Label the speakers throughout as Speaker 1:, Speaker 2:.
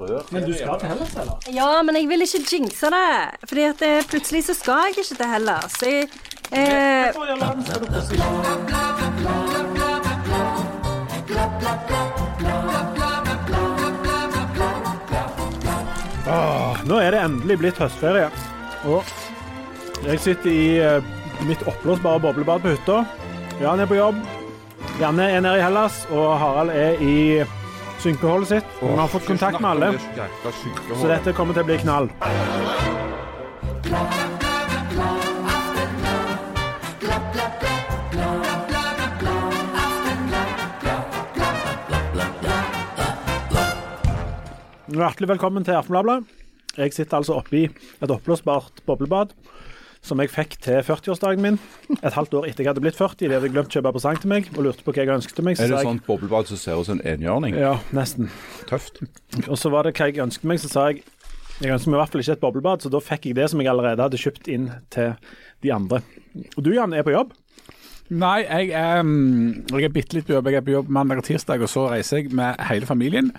Speaker 1: rør.
Speaker 2: Men du skal til Hellas, eller?
Speaker 3: Ja, men jeg vil ikke jinxe det. Fordi at eh, plutselig så skal jeg ikke til heller. Så jeg eh,
Speaker 2: Å, ja, la den skal du få si.
Speaker 4: Åh, nå er det endelig blitt høstferie. Og jeg sitter i eh, mitt oppblåsbare boblebad på hytta. Jan er på jobb. Janne er nede i Hellas, og Harald er i synkeholdet sitt. Vi har fått kontakt med alle, så dette kommer til å bli knall. Hjertelig velkommen til Aftenbladet. Jeg sitter altså oppi et oppblåsbart boblebad som jeg fikk til 40-årsdagen min. Et halvt år etter jeg hadde blitt 40. De hadde glemt å kjøpe presang til meg og lurte på hva jeg ønsket meg. så
Speaker 1: Er det
Speaker 4: sa jeg-
Speaker 1: sånt boblebad som ser ut som en enhjørning?
Speaker 4: Ja, nesten.
Speaker 1: Tøft.
Speaker 4: Og så var det hva jeg ønsket meg, så sa jeg jeg ønsker meg i hvert fall ikke et boblebad, så da fikk jeg det som jeg allerede hadde kjøpt inn til de andre. Og du, Jan, er på jobb.
Speaker 5: Nei, jeg er, mm, jeg er bitte litt på jobb. Jeg er på jobb mandag og tirsdag, og så reiser jeg med hele familien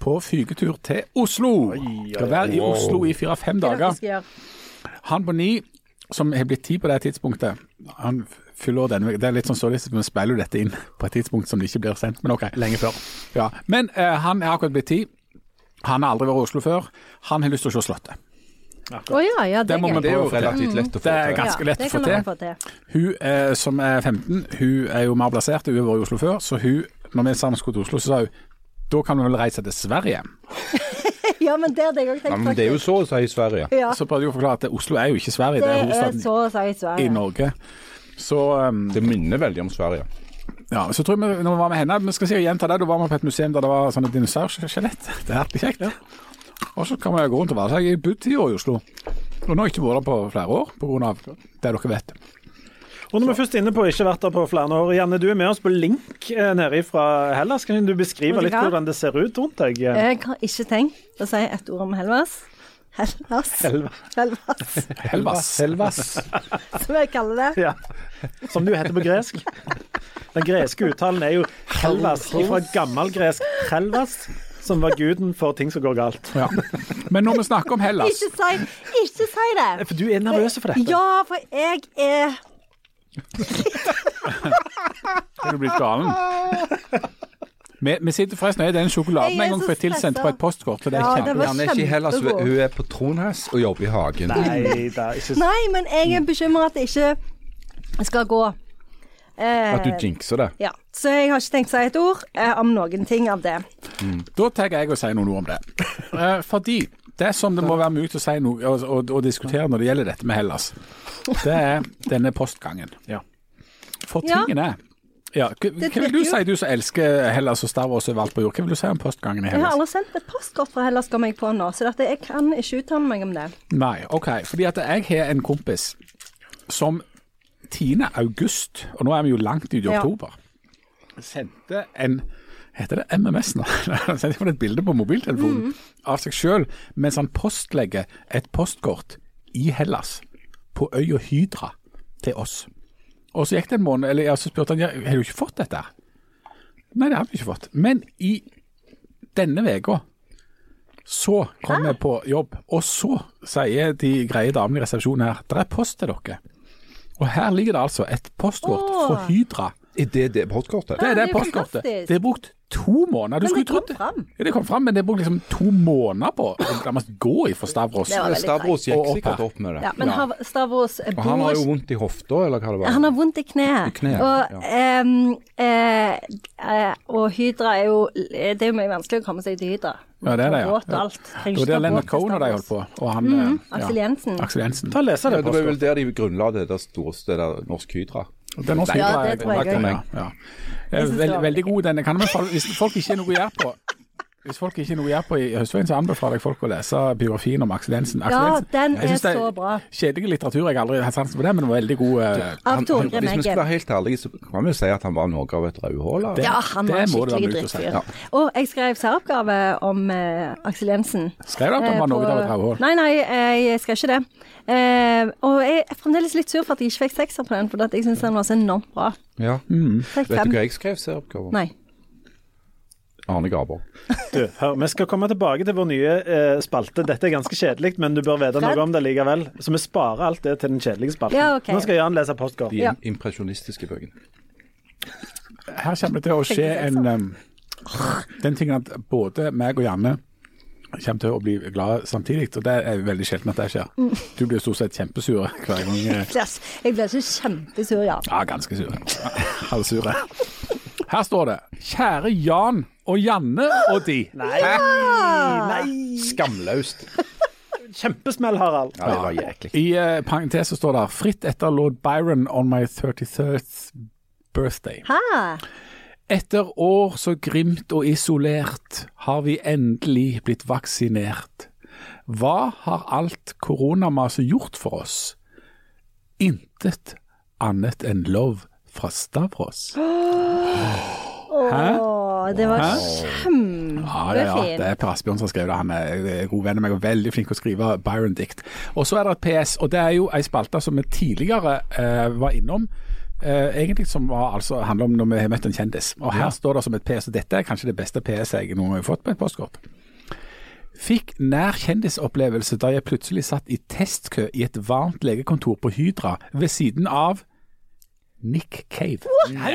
Speaker 5: på fygetur til Oslo. Skal være i
Speaker 1: Wow.
Speaker 5: Oslo i fire-fem
Speaker 3: hva er det
Speaker 5: dager.
Speaker 3: dere skal gjøre?
Speaker 5: Han på ni, som har blitt ti på det tidspunktet, han fyller år denne vek- Det er litt sånn således, vi spiller jo dette inn på et tidspunkt som det ikke blir sendt, men ok. Lenge før. Ja, Men eh, han er akkurat blitt ti. Han har aldri vært i Oslo før. Han har lyst til å se Slottet.
Speaker 3: Å ja, ja, det
Speaker 5: Det
Speaker 3: er
Speaker 5: må
Speaker 3: gøy.
Speaker 5: vi
Speaker 1: Det er jo
Speaker 5: prøve å få til.
Speaker 1: relativt lett å få
Speaker 5: Det er
Speaker 1: til.
Speaker 5: ganske lett
Speaker 3: ja,
Speaker 5: å
Speaker 3: det
Speaker 5: få
Speaker 3: kan
Speaker 5: til.
Speaker 3: dere få til.
Speaker 5: Hun eh, som er 15, hun er jo mer plassert, hun har vært i Oslo før, så hun, når vi sammen skulle til Oslo, så sa hun da kan vi vel reise til Sverige.
Speaker 3: Ja, men det hadde jeg òg
Speaker 1: Ja,
Speaker 3: tenkt,
Speaker 1: men det er jo
Speaker 3: faktisk.
Speaker 1: så å si i Sverige.
Speaker 3: Ja,
Speaker 5: Så prøvde hun å forklare at Oslo er jo ikke Sverige, det
Speaker 3: Ah. det
Speaker 5: er
Speaker 3: er
Speaker 5: hovedstaden
Speaker 3: så å si
Speaker 5: i
Speaker 3: Sverige.
Speaker 5: Norge. Så, um,
Speaker 1: Det minner veldig om Sverige.
Speaker 5: ja, så tror jeg vi, når vi var med henne Vi skal si og gjenta det, da var vi på et museum der det var sånne dinosaurskjelett. Det er alltid kjekt. Og så kan vi gå rundt og være seg. Jeg har bodd ti år i Oslo. Og nå har jeg ikke vært der på flere år, pga. det dere vet.
Speaker 4: Og når vi først er inne på ikke vært der på flere år, Janne, du er med oss på link eh, nede fra Hellas. Kan du beskrive
Speaker 3: Vet du
Speaker 4: litt
Speaker 3: hva?
Speaker 4: hvordan det ser ut rundt deg? eh?
Speaker 3: Jeg har ikke tenkt å si et ord om Helvas. Helvas. Helvas,
Speaker 5: Helvas. Helvas.
Speaker 3: som jeg kaller det.
Speaker 4: Ja. Som du heter på gresk. Den greske uttalen er jo helvas, fra gammelgresk helvas, som var guden for ting som går galt.
Speaker 5: Ja. Men når vi snakker om Hellas
Speaker 3: Ikke si, ikke si det.
Speaker 4: Eh, For du er nervøs for dette.
Speaker 3: Ja, for jeg er
Speaker 5: Er du blitt galen? Vi, vi sitter forresten og den sjokoladen
Speaker 3: Jeg er
Speaker 5: en gang
Speaker 3: så
Speaker 5: fikk tilsendt
Speaker 3: stressa.
Speaker 5: på et postkort, og det er
Speaker 3: Ja, det
Speaker 5: kjempe...
Speaker 3: var
Speaker 1: Janne er ikke i Hellas, hun
Speaker 3: kjempegod.
Speaker 1: hun er på Tronheis og jobber i hagen.
Speaker 4: Nei da, ikke
Speaker 3: Nei, men jeg er bekymra at det ikke skal gå. Eh,
Speaker 1: At du jinxer det.
Speaker 3: ja. Så jeg har ikke tenkt å si et ord eh, om noen ting av det.
Speaker 5: Da tar jeg å si noen ord om det. Eh, fordi det som det må være mulig å si noe og, og, og diskutere når det gjelder dette med Hellas, det er denne postgangen.
Speaker 4: Ja.
Speaker 5: For
Speaker 3: Ja.
Speaker 5: tingen er ja, hva,
Speaker 3: Det
Speaker 5: hva vil
Speaker 3: virker
Speaker 5: du
Speaker 3: jo.
Speaker 5: si, du som elsker Hellas og Stavås overalt på jord? Hva vil du si om postgangen i
Speaker 3: Jeg har
Speaker 5: Hellas?
Speaker 3: aldri sendt et postkort fra Hellas, kom jeg på nå, så dette, jeg kan ikke uttale meg om det.
Speaker 5: Nei, OK. Fordi at jeg har en kompis som 10. august, og nå er vi jo langt ut i
Speaker 3: Ja.
Speaker 5: oktober, sendte en Heter det MMS nå? Han sendte iallfall et bilde på mobiltelefonen av seg sjøl mens han postlegger et postkort i Hellas, på øya Hydra, til oss. Og så gikk det en måned, eller ja, så spurte han ja, har du ikke fått dette. her?» Nei, det har vi ikke fått. Men i denne uka så kom vi på jobb, og så sier de greie damene i resepsjonen her der er post til dere. Og her ligger det altså et postkort fra
Speaker 3: Åh.
Speaker 5: Hydra.
Speaker 1: Er det det postkortet?
Speaker 5: Det er
Speaker 3: Ja,
Speaker 5: det
Speaker 3: det er jo
Speaker 5: postkortet.
Speaker 3: fantastisk.
Speaker 5: Det er brukt to måneder. Du
Speaker 3: Men
Speaker 5: skulle
Speaker 3: det kom
Speaker 5: trodd
Speaker 3: fram.
Speaker 5: Ja, det kom fram, men det er brukt liksom to måneder på å nærmest gå ifra Stavros.
Speaker 3: Det var veldig
Speaker 1: Stavros gikk
Speaker 5: Og opp
Speaker 1: sikkert
Speaker 5: her.
Speaker 1: opp med det.
Speaker 3: Ja, men har- Stavros eh,
Speaker 1: Og han
Speaker 3: bor
Speaker 1: har jo
Speaker 3: ikke
Speaker 1: vondt i hofta, eller hva det var.
Speaker 3: han har vondt i kneet.
Speaker 1: kneet,
Speaker 3: og,
Speaker 1: ja.
Speaker 3: ehm, eh, eh, og Hydra er jo Det er jo mye vanskelig å komme seg til Hydra.
Speaker 5: Ja, det er det, ja.
Speaker 3: Båt og alt.
Speaker 5: Det var der Leonard Cohen og de holdt på. Og han, eh,
Speaker 3: Mm-hmm. Aksel Jensen.
Speaker 5: Aksel Jensen.
Speaker 4: Ta og lese
Speaker 1: Ja,
Speaker 4: det.
Speaker 1: det var vel der de grunnla det der store stedet Norsk Hydra.
Speaker 5: Det er norsk
Speaker 3: Ja,
Speaker 5: opera,
Speaker 3: det
Speaker 5: jeg
Speaker 3: tror jeg
Speaker 5: kontakter
Speaker 3: også.
Speaker 5: meg. Ja.
Speaker 3: Jeg synes det
Speaker 5: Veld,
Speaker 3: var
Speaker 5: veldig god den. Kan anbefale- hvis folk ikke er noe å gjøre på hvis folk ikke er noe å gjøre på i høstveien, så anbefaler jeg folk å lese biografien om Aksel Jensen. Aksel
Speaker 3: Ja,
Speaker 5: Jensen-
Speaker 3: den
Speaker 5: jeg synes
Speaker 3: er
Speaker 5: det
Speaker 3: så bra.
Speaker 5: Kjedelig litteratur, jeg har aldri hatt sansen for det, men det var veldig god. eh,
Speaker 3: Av
Speaker 1: Han-
Speaker 3: Tore
Speaker 1: Hvis vi skal
Speaker 3: Meggen.
Speaker 1: være helt ærlige, så kan vi jo si at han var noe av et rødhål. da.
Speaker 5: det-
Speaker 3: Ja, han
Speaker 5: det
Speaker 3: var en
Speaker 5: må det være
Speaker 3: skikkelig
Speaker 5: mulig å si.
Speaker 3: drittfyr.
Speaker 5: Ja.
Speaker 3: Og jeg skrev særoppgave om eh, Aksel Jensen.
Speaker 5: Skrev du at han
Speaker 3: Eh,
Speaker 5: var
Speaker 3: på-
Speaker 5: noe av et rødhål?
Speaker 3: Nei, nei, eh, jeg skrev ikke det. Eh, og jeg er fremdeles litt sur for at jeg ikke fikk sekser på den, for at jeg syns den var så enormt bra.
Speaker 1: Ja.
Speaker 3: Fikk
Speaker 1: Vet du
Speaker 3: fem.
Speaker 1: hva jeg skrev særoppgave om?
Speaker 3: Nei.
Speaker 1: Arne Garborg.
Speaker 4: Du, hør, vi skal komme tilbake til vår nye eh, spalte. Dette er ganske kjedelig, men du bør vite noe om det likevel. Så vi sparer alt det til den kjedelige spalten.
Speaker 3: Ja, ok.
Speaker 4: Nå skal Jan lese postkort.
Speaker 1: De
Speaker 3: Ja.
Speaker 1: impresjonistiske bøkene.
Speaker 5: Her kommer det til å skje en em, Den tingen at både meg og Janne kommer til å bli glad samtidig, og det er veldig sjelden at det skjer. Du blir stort sett kjempesur hver gang. eh,
Speaker 6: Klass. Jeg ble så kjempesur, ja.
Speaker 5: Ja, ganske sure. Halvsure. Her står det 'Kjære Jan og Janne og de'.
Speaker 1: Skamløst.
Speaker 4: Kjempesmell, Harald.
Speaker 1: Ja, det var jæklig.
Speaker 5: I eh, parentes så står det 'Fritt etter lord Byron on my 33rd birthday'.
Speaker 6: Hæ?
Speaker 5: Etter år så grimt og isolert har vi endelig blitt vaksinert. Hva har alt koronamaset gjort for oss? Intet annet enn love fra Stavros. Hæ?
Speaker 6: Å, det var
Speaker 5: Hæ? Ja, ja, ja.
Speaker 6: kjempefint.
Speaker 5: Det er Per Asbjørn som har skrevet det. Han er god venn av meg og veldig flink til å skrive Byron-dikt. Og så er det et PS, og det er jo ei spalte som vi tidligere eh, var innom. eh, egentlig som var, altså, handler om når vi har møtt en kjendis. Og her står det som et PS, og dette er kanskje det beste PS jeg noen gang har fått på et postkort. Fikk nær kjendisopplevelse da jeg plutselig satt i testkø i et varmt legekontor på Hydra ved siden av Nick Cave.
Speaker 6: Hæ?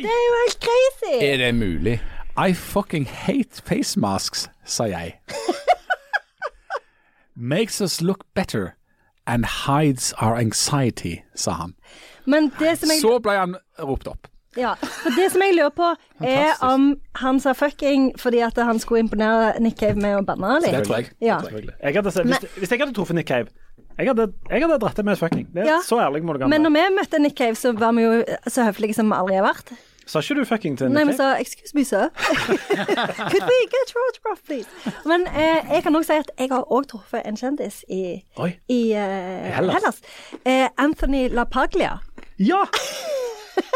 Speaker 6: Det er jo helt crazy.
Speaker 3: Eh.
Speaker 5: Eh,
Speaker 1: Er det mulig?
Speaker 5: I fucking hate face masks, sa jeg. Makes us look better and hides our anxiety, sa han.
Speaker 3: Men det som jeg
Speaker 5: Så ble han ropt opp.
Speaker 3: Ja, for det som jeg lurer på, er
Speaker 5: Fantastisk.
Speaker 3: om han sa fucking fordi at han skulle imponere Nick Cave med å banne
Speaker 5: Det
Speaker 3: litt.
Speaker 5: tror jeg.
Speaker 3: Ja.
Speaker 4: Jeg hadde, sett- hvis, hvis jeg hadde truffet Nick Cave jeg hadde, jeg hadde dratt det med et fucking. Det,
Speaker 3: Ja.
Speaker 4: Så ærlig må du
Speaker 3: Men
Speaker 4: være.
Speaker 3: når vi møtte Nick Cave, så var vi jo så høflige som vi aldri har vært.
Speaker 4: Sa ikke du fucking til
Speaker 3: Nei,
Speaker 4: Nick
Speaker 3: vi
Speaker 4: Cave?
Speaker 3: sa 'excuse me, sir'. Could we get your autograph, please? Men eh, jeg kan også si at jeg har også truffet en kjendis i,
Speaker 4: Oi.
Speaker 3: i eh,
Speaker 4: Hellas.
Speaker 3: Hellas. Eh, Anthony LaPaglia.
Speaker 4: Ja!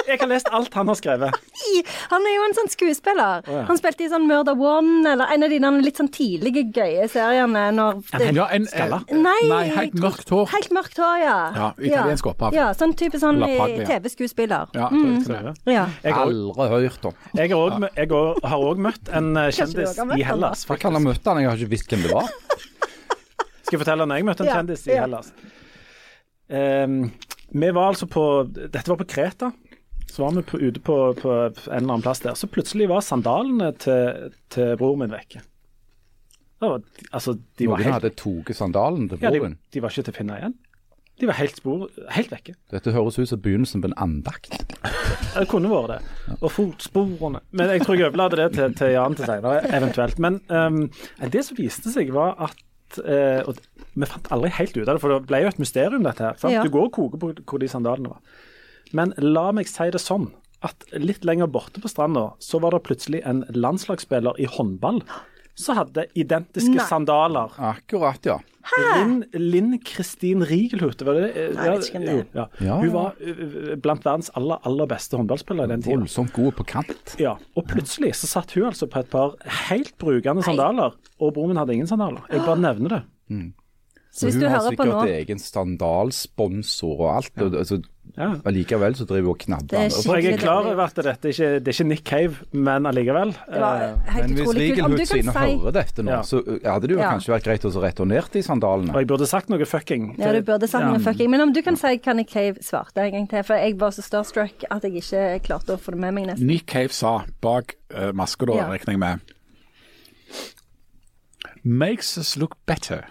Speaker 4: Jeg har lest alt han har skrevet.
Speaker 3: I, han er jo en sånn skuespiller. Han spilte i sånn Murder One, eller en av de der litt sånn tidlige, gøye seriene når det-
Speaker 5: Ja, en, eh,
Speaker 4: Skalla?
Speaker 3: Nei,
Speaker 5: nei, helt
Speaker 3: jeg tror-
Speaker 5: mørkt hår.
Speaker 3: Helt mørkt hår, ja.
Speaker 5: Ja, italiensk opphav.
Speaker 3: Ja, sånn type sånn
Speaker 5: La
Speaker 3: i
Speaker 5: Paglia.
Speaker 3: TV-skuespiller.
Speaker 5: Ja, jeg tror jeg
Speaker 1: er
Speaker 5: skal det.
Speaker 3: Ja.
Speaker 4: Jeg har-
Speaker 1: Aldri hørt om.
Speaker 4: jeg har også mø- jeg har har også møtt en eh, kjendis
Speaker 6: du har møtt
Speaker 4: i
Speaker 6: han, da?
Speaker 4: Hellas,
Speaker 1: Jeg kan ha
Speaker 4: faktisk.
Speaker 1: møtt han, jeg har ikke visst hvem det var.
Speaker 4: Skal jeg fortelle når jeg møtte en
Speaker 6: Ja,
Speaker 4: kjendis i
Speaker 6: ja.
Speaker 4: Hellas? Ehm, vi var altså på Dette var på Kreta. Så var vi på, ute på, på en eller annen plass der. Så plutselig var sandalene til, til bror min vekke. Det var, altså, de var
Speaker 1: Noen
Speaker 4: helt
Speaker 1: hadde tatt sandalen til
Speaker 4: ja, de,
Speaker 1: broren.
Speaker 4: de var ikke til å finne igjen. De var helt spor, helt vekke.
Speaker 1: Dette høres ut som begynnelsen på en andakt.
Speaker 4: Det kunne vært det. Og fotsporene. Men jeg tror jeg overlater det til, til Jan til senere, eventuelt. Men ehm, det som viste seg, var at eh, og Vi fant aldri helt ut av det, for det ble jo et mysterium, dette her. Sant?
Speaker 3: Ja.
Speaker 4: Du går og koker på hvor de sandalene var. Men la meg si det sånn at litt lenger borte på stranda, så var det plutselig en landslagsspiller i håndball som hadde identiske
Speaker 3: Nei.
Speaker 4: sandaler.
Speaker 1: Akkurat, ja.
Speaker 4: Linn, Linn Kristin Rigelhute, var det det? Nei,
Speaker 6: jeg vet ikke hvem det er.
Speaker 4: Ja.
Speaker 1: Ja,
Speaker 4: Hun
Speaker 1: ja.
Speaker 4: var ø, ø, blant verdens aller, aller beste håndballspillere i den tida.
Speaker 1: Voldsomt god på kant.
Speaker 4: Ja, og plutselig så satt hun altså på et par helt brukende sandaler, og broren min hadde ingen sandaler. Jeg
Speaker 3: Ah,
Speaker 4: bare nevner det.
Speaker 3: Så hvis
Speaker 1: hun
Speaker 3: du
Speaker 1: har
Speaker 3: hører på nå
Speaker 1: sikkert egen standalsponsor og alt. og- Altså,
Speaker 4: Ja.
Speaker 1: Allikevel så driver hun og knabber.
Speaker 3: Det er
Speaker 1: andre folk.
Speaker 4: Så jeg
Speaker 3: Skikkelig
Speaker 4: er klar
Speaker 3: dårlig.
Speaker 4: over at dette ikke, det er ikke Nick Cave, men allikevel. eh,
Speaker 3: Det var helt
Speaker 1: Men
Speaker 3: utrolig
Speaker 1: hvis
Speaker 3: kult. Om du
Speaker 1: Rigelhut
Speaker 3: kan
Speaker 1: sine
Speaker 3: si
Speaker 1: hører dette nå,
Speaker 4: Ja.
Speaker 1: så uh, hadde det jo
Speaker 3: Ja.
Speaker 1: kanskje vært greit å så returnere de
Speaker 4: Og
Speaker 1: sandalene.
Speaker 4: jeg burde sagt noe fucking.
Speaker 3: Ja, du
Speaker 4: Det-
Speaker 3: burde sagt noe fucking. Men om du kan si hva Nick Cave svarte en gang til, for jeg var så starstruck at jeg ikke klarte å få det med meg nesten.
Speaker 5: Nick Cave sa bak uh, maska, da,
Speaker 3: Ja.
Speaker 5: regner jeg med Makes us look better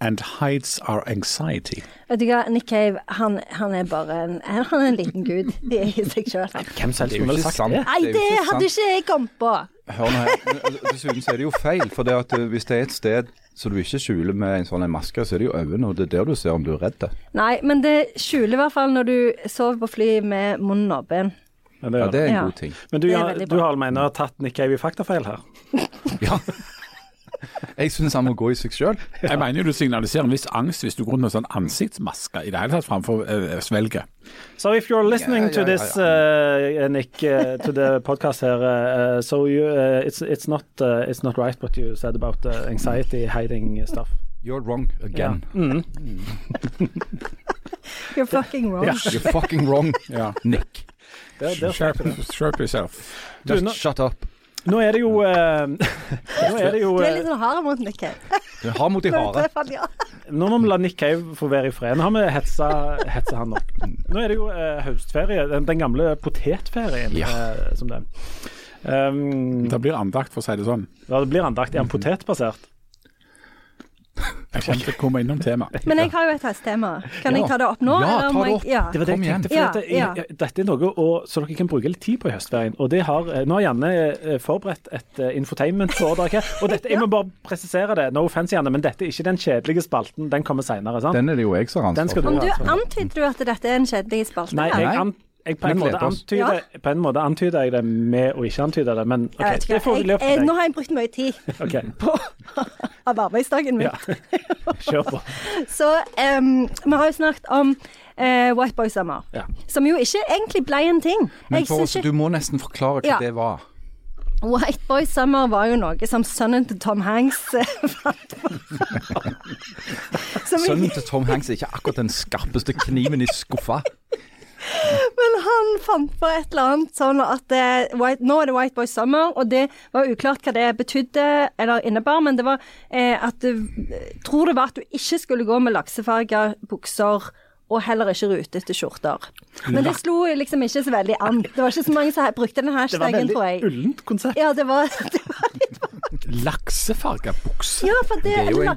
Speaker 5: and hides our anxiety.
Speaker 3: Vet du hva, Nick Cave, han, han er bare en, han er en liten gud i seg sjøl.
Speaker 4: Hvem som helst
Speaker 1: Det er jo
Speaker 4: kunne vel
Speaker 1: ikke
Speaker 4: sagt det.
Speaker 1: sant.
Speaker 3: Nei,
Speaker 1: Det er jo
Speaker 3: det
Speaker 1: ikke
Speaker 3: hadde
Speaker 1: sant.
Speaker 3: ikke jeg kommet på.
Speaker 1: Hør nå her. Men, altså, Dessuten så er det jo feil. For det at uh, hvis det er et sted som du ikke skjuler med en sånn en maske, så er det jo øynene, og det er der du ser om du er redd.
Speaker 3: Nei, men det skjuler i hvert fall når du sover på fly med munnen åpen.
Speaker 4: Men, det
Speaker 1: Ja,
Speaker 4: gjør
Speaker 1: det
Speaker 4: det.
Speaker 1: er en
Speaker 3: Ja.
Speaker 1: god ting.
Speaker 4: men du,
Speaker 3: Det er
Speaker 4: Jan-
Speaker 3: veldig
Speaker 4: du
Speaker 3: bra.
Speaker 4: Harald, mener har tatt Nick Cave i faktafeil her.
Speaker 1: Ja. Jeg syns han må gå i seg sjøl.
Speaker 5: Jeg mener jo du signaliserer en viss angst hvis du går rundt med sånn ansiktsmaske i det hele tatt framfor eh, svelget.
Speaker 4: So if you're listening
Speaker 1: Ja, ja,
Speaker 4: to
Speaker 1: ja,
Speaker 4: this, uh, Nick, uh, to the podcast here, uh, so you, uh, it's, it's, not, uh, it's not right what you said about uh, anxiety, hiding stuff. Mm.
Speaker 1: You're wrong again.
Speaker 3: You're fucking wrong.
Speaker 1: You're fucking wrong,
Speaker 5: Ja.
Speaker 1: Nick.
Speaker 4: Der, der
Speaker 5: Sharp, sharp yourself.
Speaker 4: Du,
Speaker 1: Just
Speaker 4: nå-
Speaker 1: shut up.
Speaker 4: Nå er det jo eh, Nå er det jo
Speaker 3: Du er
Speaker 4: eh,
Speaker 3: litt sånn hard mot Nick Cave.
Speaker 1: Du har mot de harde.
Speaker 3: Ja.
Speaker 4: Nå må vi la Nick Cave få være i fred. Nå har vi hetsa, hetsa han nok. Nå er det jo eh, høstferie, den, den gamle potetferien
Speaker 5: Ja.
Speaker 4: eh, som det er. Um,
Speaker 5: Det blir andakt, for å si det sånn.
Speaker 4: ja, det blir andakt. Er han potetbasert?
Speaker 5: Jeg kommer til å komme innom temaet.
Speaker 3: Men jeg har jo et hestetema. Kan jeg ta det opp nå?
Speaker 1: Ja,
Speaker 3: eller
Speaker 1: ta
Speaker 3: må
Speaker 1: det
Speaker 3: jeg-
Speaker 1: opp.
Speaker 3: Ja.
Speaker 4: Det var det
Speaker 5: Kom
Speaker 4: jeg
Speaker 5: igjen.
Speaker 4: tenkte, for
Speaker 3: Ja,
Speaker 4: dette,
Speaker 3: ja.
Speaker 4: jeg, dette er noe å, så dere kan bruke litt tid på i høstferien. Og det har, eh, nå har Janne eh, forberedt et eh, infotainment for dere. Og dette, jeg må bare presisere det, no offense Janne, men dette er ikke den kjedelige spalten. Den kommer seinere, sant?
Speaker 1: Den er det jo jeg som har
Speaker 4: Den skal
Speaker 1: ansvar
Speaker 4: du
Speaker 1: for.
Speaker 3: Men
Speaker 4: ha.
Speaker 3: du
Speaker 4: altså.
Speaker 3: antyder jo at dette er en kjedelig spalte.
Speaker 4: Nei,
Speaker 3: her.
Speaker 4: jeg,
Speaker 5: Nei.
Speaker 4: an, jeg på, en
Speaker 1: Vi
Speaker 4: måte
Speaker 1: gleder oss.
Speaker 4: antyder, på en måte antyder jeg det med å ikke antyde det, men OK.
Speaker 3: Jeg vet ikke,
Speaker 4: Det får
Speaker 3: jeg-
Speaker 4: vi løpe
Speaker 3: jeg-
Speaker 4: til
Speaker 3: Nå
Speaker 4: deg.
Speaker 3: har jeg brukt mye tid
Speaker 4: Ok,
Speaker 3: på av arbeidsdagen min.
Speaker 4: Ja. Kjør på.
Speaker 3: Så em, vi har jo snakket om eh, White Boy Summer,
Speaker 4: Ja.
Speaker 3: som jo ikke egentlig ble en ting.
Speaker 1: Men
Speaker 3: Jeg
Speaker 1: for
Speaker 3: synes
Speaker 1: oss,
Speaker 3: ikke-
Speaker 1: du må nesten forklare hva
Speaker 3: Ja.
Speaker 1: det var.
Speaker 3: White Boy Summer var jo noe som sønnen til Tom Hanks eh, fant på. Som
Speaker 1: Sønnen til Tom Hanks er ikke akkurat den skarpeste kniven i skuffa.
Speaker 3: Men han fant på et eller annet sånn at eh, white, nå er det White Boy Summer, og det var uklart hva det betydde eller innebar, men det var eh, at du tror det var at du ikke skulle gå med laksefarga bukser. Og heller ikke rutete skjorter. Men det slo liksom ikke så veldig an. Det var ikke så mange som he- brukte den
Speaker 4: Det var
Speaker 3: hashtagen, tror
Speaker 4: veldig
Speaker 3: jeg.
Speaker 4: ullent konsept.
Speaker 3: Ja, det var, det var
Speaker 5: Laksefarga bukse.
Speaker 3: Ja, for det,
Speaker 1: Det er jo en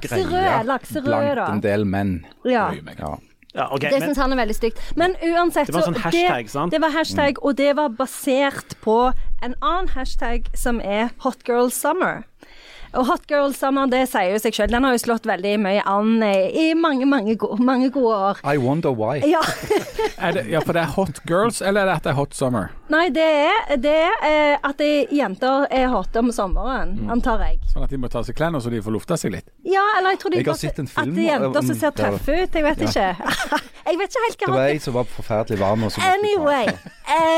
Speaker 3: lakserød,
Speaker 1: greie
Speaker 3: lakserød,
Speaker 1: blant
Speaker 3: da.
Speaker 1: en del menn.
Speaker 3: Ja.
Speaker 5: Øy meg.
Speaker 1: Ja.
Speaker 4: Ja, ok,
Speaker 3: Det
Speaker 4: Eh, men-
Speaker 3: syns han er veldig stygt. Men uansett
Speaker 4: Det var
Speaker 3: så-
Speaker 4: sånn hashtag, sant? Mm.
Speaker 3: Det var hashtag, og det var basert på en annen hashtag som er Hot Girl Summer. Og Hot Girl Summer, det sier jo seg sjøl. Den har jo slått veldig mye an eh, i mange, mange, go mange gode år.
Speaker 1: I wonder why.
Speaker 3: Ja.
Speaker 5: Er det, ja, for det er hot girls, eller er det at det er hot summer?
Speaker 3: Nei, det er, det er eh, at de jenter er hotte om sommeren,
Speaker 4: Mm.
Speaker 3: antar jeg.
Speaker 5: Sånn at de må ta av seg klærne så de får lufta seg litt.
Speaker 3: Ja, eller jeg tror de
Speaker 1: Jeg har
Speaker 3: bare-
Speaker 1: sett en
Speaker 3: At
Speaker 1: film eh,
Speaker 3: det er jenter
Speaker 1: om-
Speaker 3: som ser
Speaker 1: der-
Speaker 3: tøffe ut. Jeg vet ikke. jeg vet ikke helt hva
Speaker 1: Det
Speaker 3: hot
Speaker 1: var ei som var forferdelig varm. Og så måtte vi ta-
Speaker 3: Anyway,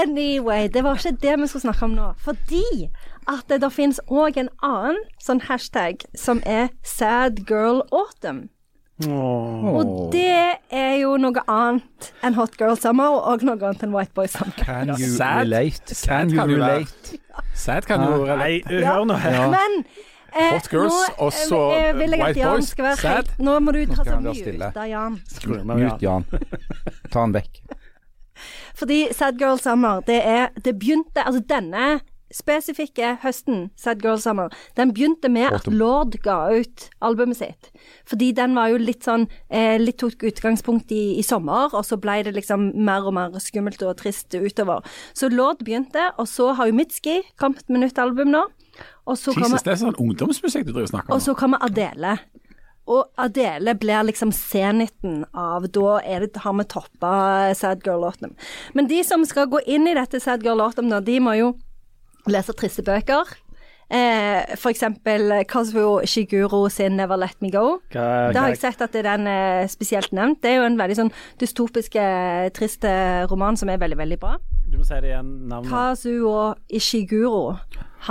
Speaker 3: anyway, det var ikke det vi skulle snakke om nå. Fordi at det, det finnes òg en annen sånn hashtag som er Sad Girl Autumn. Og det er jo noe annet enn Hot Girl Summer, og også noe annet enn White Boy Summer.
Speaker 1: Can you
Speaker 5: Sad.
Speaker 1: relate?
Speaker 5: Sad
Speaker 1: Can you
Speaker 5: kan det være.
Speaker 1: relate?
Speaker 5: Sad kan jo
Speaker 4: Nei, hør nå her.
Speaker 3: Men eh,
Speaker 5: Hot girls,
Speaker 3: nå, eh,
Speaker 5: og så
Speaker 3: eh, vil jeg at
Speaker 5: White
Speaker 3: Jan
Speaker 5: Boys,
Speaker 3: skal være
Speaker 5: sad.
Speaker 3: helt- Nå må du ta
Speaker 1: skal han
Speaker 3: sånn
Speaker 1: være
Speaker 3: mute,
Speaker 1: stille.
Speaker 3: da, Jan.
Speaker 1: Mute Jan. Ta han vekk.
Speaker 3: Fordi Sad Girl Summer, det er Det begynte Altså denne spesifikke høsten, Sad Girl Summer, den begynte med at
Speaker 1: Autumn.
Speaker 3: Lord ga ut albumet sitt. Fordi den var jo litt sånn eh, Litt tok utgangspunkt i, i sommer, og så ble det liksom mer og mer skummelt og trist utover. Så Lord begynte, og så har jo Mitski kommet med nytt album nå. Og så kommer
Speaker 5: Jesus, det er sånn ungdomsmusikk du driver og snakker
Speaker 3: og
Speaker 5: om.
Speaker 3: så kommer Adele. Og Adele blir liksom seniten av Da er det, har vi toppa Sad Girl Autumn. Men de som skal gå inn i dette Sad Girl Autumn, da, de må jo lese triste bøker. Eh, for eksempel Kazuo Shiguro sin 'Never Let Me Go'.
Speaker 4: Hva-
Speaker 3: Da
Speaker 4: hva-
Speaker 3: har jeg sett at det er den eh, spesielt nevnt. Det er jo en veldig sånn dystopisk, eh, trist eh, roman som er veldig, veldig bra.
Speaker 4: Du må si det igjen, navnet.
Speaker 3: Kazuo Ishiguro,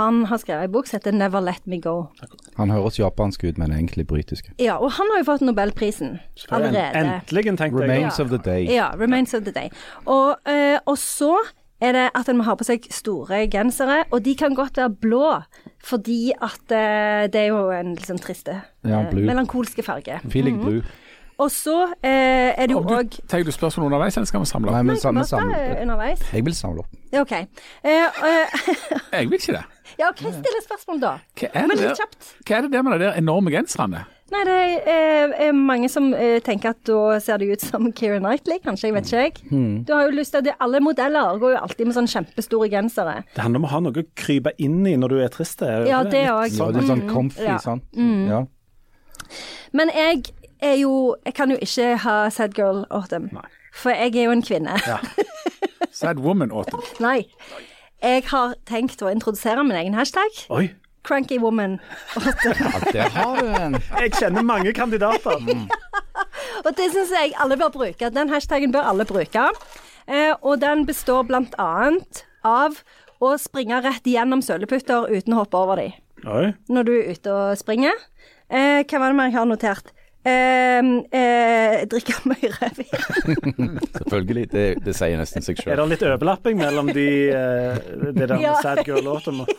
Speaker 3: han har skrevet en bok som heter 'Never Let Me Go'.
Speaker 1: Han høres japansk ut, men er egentlig britisk.
Speaker 3: Ja, og han har jo fått Nobelprisen allerede.
Speaker 4: Endelig, tenkte jeg.
Speaker 1: Remains of the day.
Speaker 3: Ja, Remains of the Day. Og, eh, og så er det at en må ha på seg store gensere, og de kan godt være blå, fordi at eh, det er jo en litt sånn triste,
Speaker 1: Ja,
Speaker 3: eh,
Speaker 1: blue.
Speaker 3: melankolske farge.
Speaker 1: Feeling blue.
Speaker 3: Og så eh, er det jo
Speaker 5: Om du,
Speaker 3: òg
Speaker 5: tar du spørsmål underveis, eller skal vi samle
Speaker 1: Nei,
Speaker 5: opp?
Speaker 1: men
Speaker 3: Bare
Speaker 1: samme
Speaker 3: ta
Speaker 1: samle.
Speaker 3: eh, underveis.
Speaker 1: Jeg vil samle opp.
Speaker 3: Ja, OK. Eh, eh,
Speaker 5: Jeg vil ikke det.
Speaker 3: ja, OK, still et spørsmål, da.
Speaker 5: Hva er
Speaker 3: Men
Speaker 5: det,
Speaker 3: litt
Speaker 5: der-
Speaker 3: kjapt.
Speaker 5: hva er det der med de der enorme genserne?
Speaker 3: Nei, det er, eh, er mange som eh, tenker at da ser det ut som Keira Knightley, kanskje. Jeg vet ikke, jeg. Du har jo lyst til at det- Alle modeller går jo alltid med sånn kjempestore gensere.
Speaker 4: Det handler om å ha noe å krype inn i når du er trist. er
Speaker 3: Ja,
Speaker 4: ikke
Speaker 3: det
Speaker 4: Litt
Speaker 3: også.
Speaker 1: Ja, det er sånn comfy,
Speaker 3: Ja. Mhm.
Speaker 1: sant? Ja.
Speaker 3: Men jeg er jo Jeg kan jo ikke ha Sad Girl Autumn. For jeg er jo en kvinne.
Speaker 5: Sad woman åt dem.
Speaker 3: Nei. Jeg har tenkt å introdusere min egen hashtag.
Speaker 4: Oi.
Speaker 3: Cranky woman.
Speaker 1: ja, der har du den.
Speaker 4: Jeg kjenner mange kandidater.
Speaker 3: Og det syns jeg alle bør bruke. Den hashtagen bør alle bruke. Eh, og den består blant annet av å springe rett gjennom søleputter uten å hoppe over dem.
Speaker 4: Oi.
Speaker 3: når du er ute og springer. Eh, hva var det mer jeg har notert? ehm, eh, drikke mye rødvin.
Speaker 1: Selvfølgelig. Det, det sier nesten seg
Speaker 4: Er
Speaker 1: sjøl.
Speaker 4: det litt overlapping mellom de, eh, det der med
Speaker 3: Ja.
Speaker 4: Sad Girl-låten og,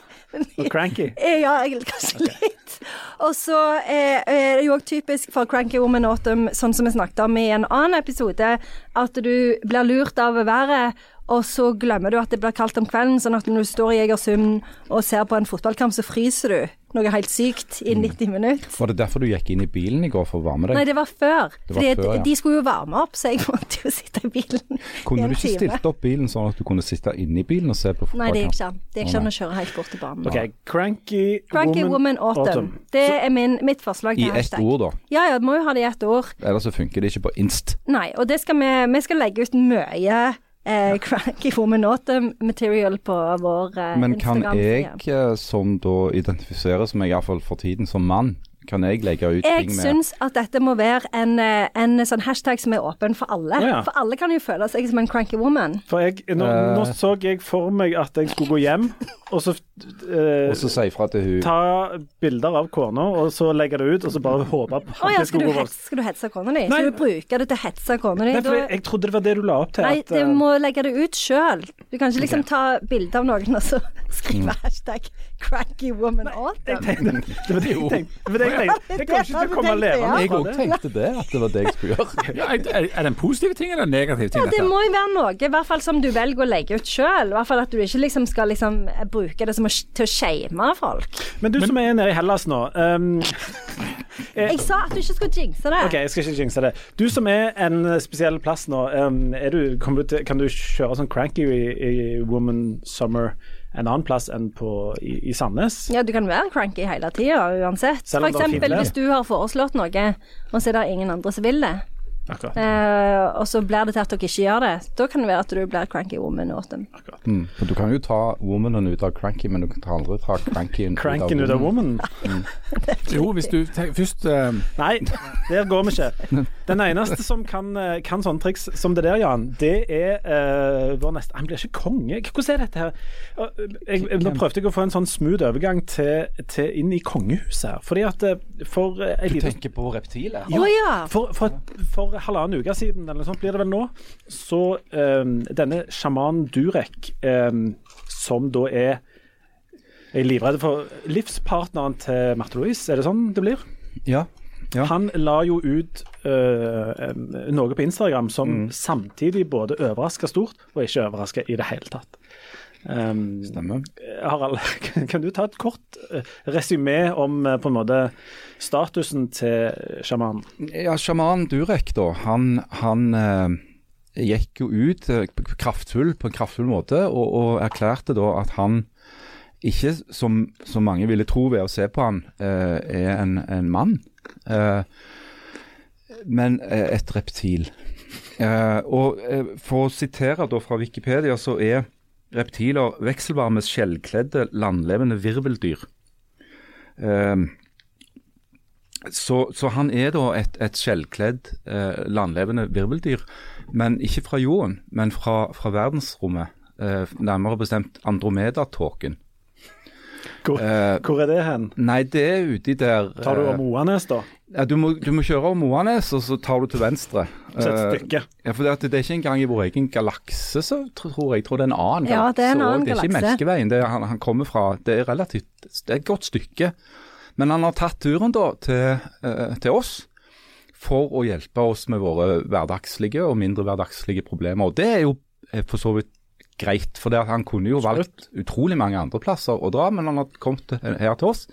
Speaker 4: og Cranky?
Speaker 3: Eh, Ja, egentlig kanskje litt. Og så eh, er det jo også typisk for Cranky Woman Autumn, sånn som vi snakket om i en annen episode, at du blir lurt av været, og så glemmer du at det blir kaldt om kvelden, sånn at når du står i Egersund og ser på en fotballkamp, så fryser du. Noe helt sykt
Speaker 1: Mm.
Speaker 3: i 90 minutter.
Speaker 1: Var det derfor du gikk inn i bilen i går for å varme deg?
Speaker 3: Nei, det var før.
Speaker 1: Det var
Speaker 3: Fordi
Speaker 1: før, ja.
Speaker 3: de skulle jo varme opp, så jeg måtte jo sitte i bilen. i
Speaker 1: kunne
Speaker 3: en
Speaker 1: du ikke
Speaker 3: time.
Speaker 1: stilt opp bilen sånn at du kunne sitte inni bilen og se på
Speaker 3: Nei, det gikk
Speaker 1: fotballkamp?
Speaker 3: ikke an. Det gikk ikke an å kjøre helt bort til banen.
Speaker 4: OK, Cranky,
Speaker 3: Cranky Woman
Speaker 4: Woman
Speaker 3: Autumn. Det er min, mitt forslag
Speaker 1: I
Speaker 3: til
Speaker 1: ett
Speaker 3: hashtag.
Speaker 1: ord, da.
Speaker 3: Ja, ja, må jo ha det i ett ord.
Speaker 1: Ellers så funker det ikke på Inst.
Speaker 3: Nei, og det skal vi, vi skal legge ut mye eh, Cranky Woman Autumn material på vår eh,
Speaker 1: Men kan jeg,
Speaker 3: Instagram-side.
Speaker 1: eh, som da identifiseres som iallfall for tiden som mann, kan jeg legge ut
Speaker 3: Jeg
Speaker 1: ting med
Speaker 3: syns at dette må være en, eh, en sånn hashtag som er åpen for alle.
Speaker 4: Ja, ja.
Speaker 3: For alle kan jo føle seg som en cranky woman.
Speaker 4: For jeg, nå, nå
Speaker 1: Eh.
Speaker 4: så jeg for meg at jeg skulle gå hjem, og så eh,
Speaker 1: Og så si ifra til hun
Speaker 4: ta bilder av kona, og så legge det ut, og så bare håpe på at
Speaker 3: Å ja,
Speaker 4: det
Speaker 3: skal
Speaker 4: skulle
Speaker 3: du,
Speaker 4: gå
Speaker 3: hets,
Speaker 4: voldsomt.
Speaker 3: skal du hetse kona di?
Speaker 4: Nei.
Speaker 3: Skal du bruke det til å hetse kona di?
Speaker 4: Nei, for
Speaker 3: Da-
Speaker 4: jeg, jeg trodde det var det du la opp til.
Speaker 3: Nei,
Speaker 4: at,
Speaker 3: du
Speaker 4: eh,
Speaker 3: må legge det ut sjøl. Du kan ikke liksom ta bilde av noen og så skrive
Speaker 4: Mm.
Speaker 3: hashtag 'cranky woman autumn'.
Speaker 4: det var det jeg tenkte. Det var det jeg tenkte. Jeg kommer ikke til å komme levende
Speaker 1: Jeg
Speaker 4: fra
Speaker 1: òg
Speaker 4: det.
Speaker 1: tenkte det, at det var det jeg skulle gjøre.
Speaker 5: Ja, er, er det en positiv ting eller en negativ ting?
Speaker 3: Ja, det
Speaker 5: dette?
Speaker 3: må jo være noe, i hvert fall som du velger å legge ut sjøl. I hvert fall at du ikke liksom skal liksom bruke det som å, til å shame folk.
Speaker 4: Men du som er nede i Hellas nå ehm,
Speaker 3: Jeg sa at du ikke skulle jinxe det.
Speaker 4: Eh, OK, jeg skal ikke jinxe det. Du som er en spesiell plass nå, ehm, er du, kommer du til, kan du kjøre sånn cranky i, i Woman Summer en annen plass enn på, i, i Sandnes?
Speaker 3: Ja, du kan være cranky hele tida
Speaker 4: Selv
Speaker 3: uansett. For
Speaker 4: om det er
Speaker 3: eksempel
Speaker 4: fint vær.
Speaker 3: hvis du har foreslått noe, og så er det ingen andre som vil det.
Speaker 4: Akkurat.
Speaker 3: Eh, og så blir det til at dere ikke gjør det. Da kan det være at du blir cranky woman autumn.
Speaker 1: Mm. For du kan jo ta womanen ut av cranky, men du kan ta aldri ta crankyen
Speaker 4: Cranken ut av
Speaker 1: woman.
Speaker 4: woman?
Speaker 5: Jo, hvis du te- først eh,
Speaker 4: Nei, der går vi ikke. Den eneste som kan, eh, kan sånne triks som det der, Jan, det er eh, vår neste Han blir ikke konge. Hvordan er dette her? Og, eh, Jeg, nå prøvde jeg å få en sånn smooth overgang til, til inn i kongehuset her. Fordi at eh, for eh, en liten
Speaker 1: Tenker på reptiler.
Speaker 3: Å ja!
Speaker 4: for, for, for halvannen uke siden, eller noe sånt blir det vel nå, så ehm, denne sjaman Durek, ehm, som da er Jeg er livredd for livspartneren til Marte Louise, er det sånn det blir?
Speaker 1: Ja. Ja.
Speaker 4: Han la jo ut øh, em, noe på Instagram som
Speaker 1: Mm.
Speaker 4: samtidig både overraska stort og ikke overraska i det hele tatt. Um,
Speaker 1: Stemmer.
Speaker 4: Harald, kan- kan du ta et kort uh, resymé om eh, på en måte statusen til sjamanen?
Speaker 1: Ja, sjaman Durek, da. Han, han eh, gikk jo ut eh, p- kraftfull, på en kraftfull måte og, og erklærte da at han ikke, som, som mange ville tro ved å se på han, eh, er en, en mann, eh, men eh, et reptil. Eh, og eh, For å sitere da fra Wikipedia, så er reptiler vekselbare med skjellkledde, landlevende virveldyr. Eh, så, så han er da et, et skjellkledd, eh, landlevende virveldyr. Men ikke fra jorden, men fra, fra verdensrommet. Eh, nærmere bestemt Andromedatåken. Eh,
Speaker 4: Hvor, hvor er det hen?
Speaker 1: Nei, det er uti der
Speaker 4: Tar du
Speaker 1: eh,
Speaker 4: om Oanes, da?
Speaker 1: ja, du, må, du må kjøre om Moanes, og så tar du til venstre.
Speaker 4: Så et
Speaker 1: Eh,
Speaker 4: stykke.
Speaker 1: ja, for det, at det er ikke engang i vår egen galakse, så tr- tror jeg. jeg tror det er en annen
Speaker 3: Ja, det er en
Speaker 1: også.
Speaker 3: annen
Speaker 1: det er ikke
Speaker 3: galakse.
Speaker 1: Melkeveien det er, han, han kommer fra. Det er relativt det er et godt stykke. Men han har tatt turen da til, eh, til oss for å hjelpe oss med våre hverdagslige og mindre hverdagslige problemer. Og det er jo eh, for så vidt greit, for det at han kunne jo valgt utrolig mange andre plasser å dra, men han har kommet til- eh, her til oss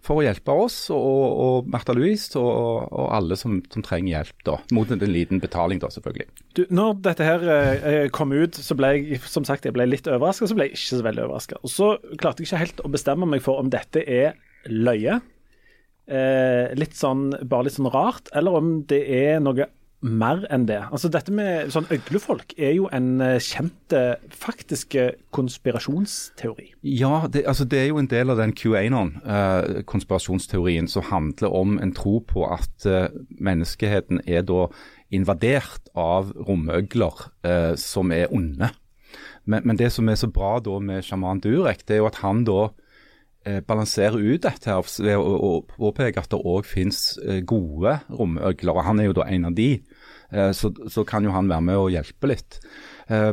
Speaker 1: for å hjelpe oss og, og Märtha Louise og, og alle som, som trenger hjelp, da. Mot en liten betaling, da, selvfølgelig.
Speaker 4: Du, når dette her eh, kom ut, så ble jeg som sagt jeg ble litt overraska, så ble jeg ikke så veldig overraska. Og så klarte jeg ikke helt å bestemme meg for om dette er løye, eh, litt sånn, bare litt sånn rart, eller om det er noe mer enn det. Altså Dette med sånn øglefolk er jo en eh, kjent eh, faktisk eh, konspirasjonsteori.
Speaker 1: Ja, det, altså det er jo en del av den QAnon-konspirasjonsteorien som handler om en tro på at eh, menneskeheten er da invadert av romøgler eh, som er onde. Men, men det som er så bra da med sjaman Durek, det er jo at han da eh, balansere ut dette her ved å å- å påpeke at det òg finnes eh, gode romøgler. og Han er jo da en av de, eh, så, så kan jo han være med og hjelpe litt. Eh,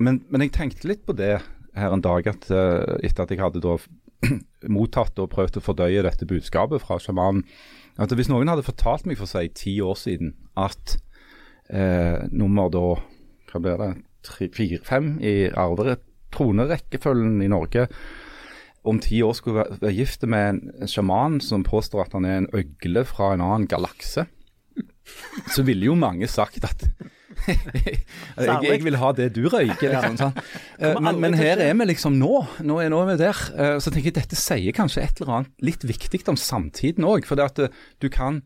Speaker 1: Men, men jeg tenkte litt på det her en dag at, eh, etter at jeg hadde da mottatt og prøvd å fordøye dette budskapet fra sjamanen. At hvis noen hadde fortalt meg for seg ti år siden at eh, nummer da hva blir det, tre, fire, fem i arvere, tronerekkefølgen i Norge om ti år skulle være- være gift med en en sjaman som påstår at han er en øgle fra en annen galakse, så ville jo mange sagt at jeg, jeg vil ha det du røyker. Liksom, sant? Eh, Men, men her er vi liksom nå. Nå er, nå er vi der. Eh, Så tenker jeg dette sier kanskje et eller annet litt viktig om samtiden òg. For det at eh, du kan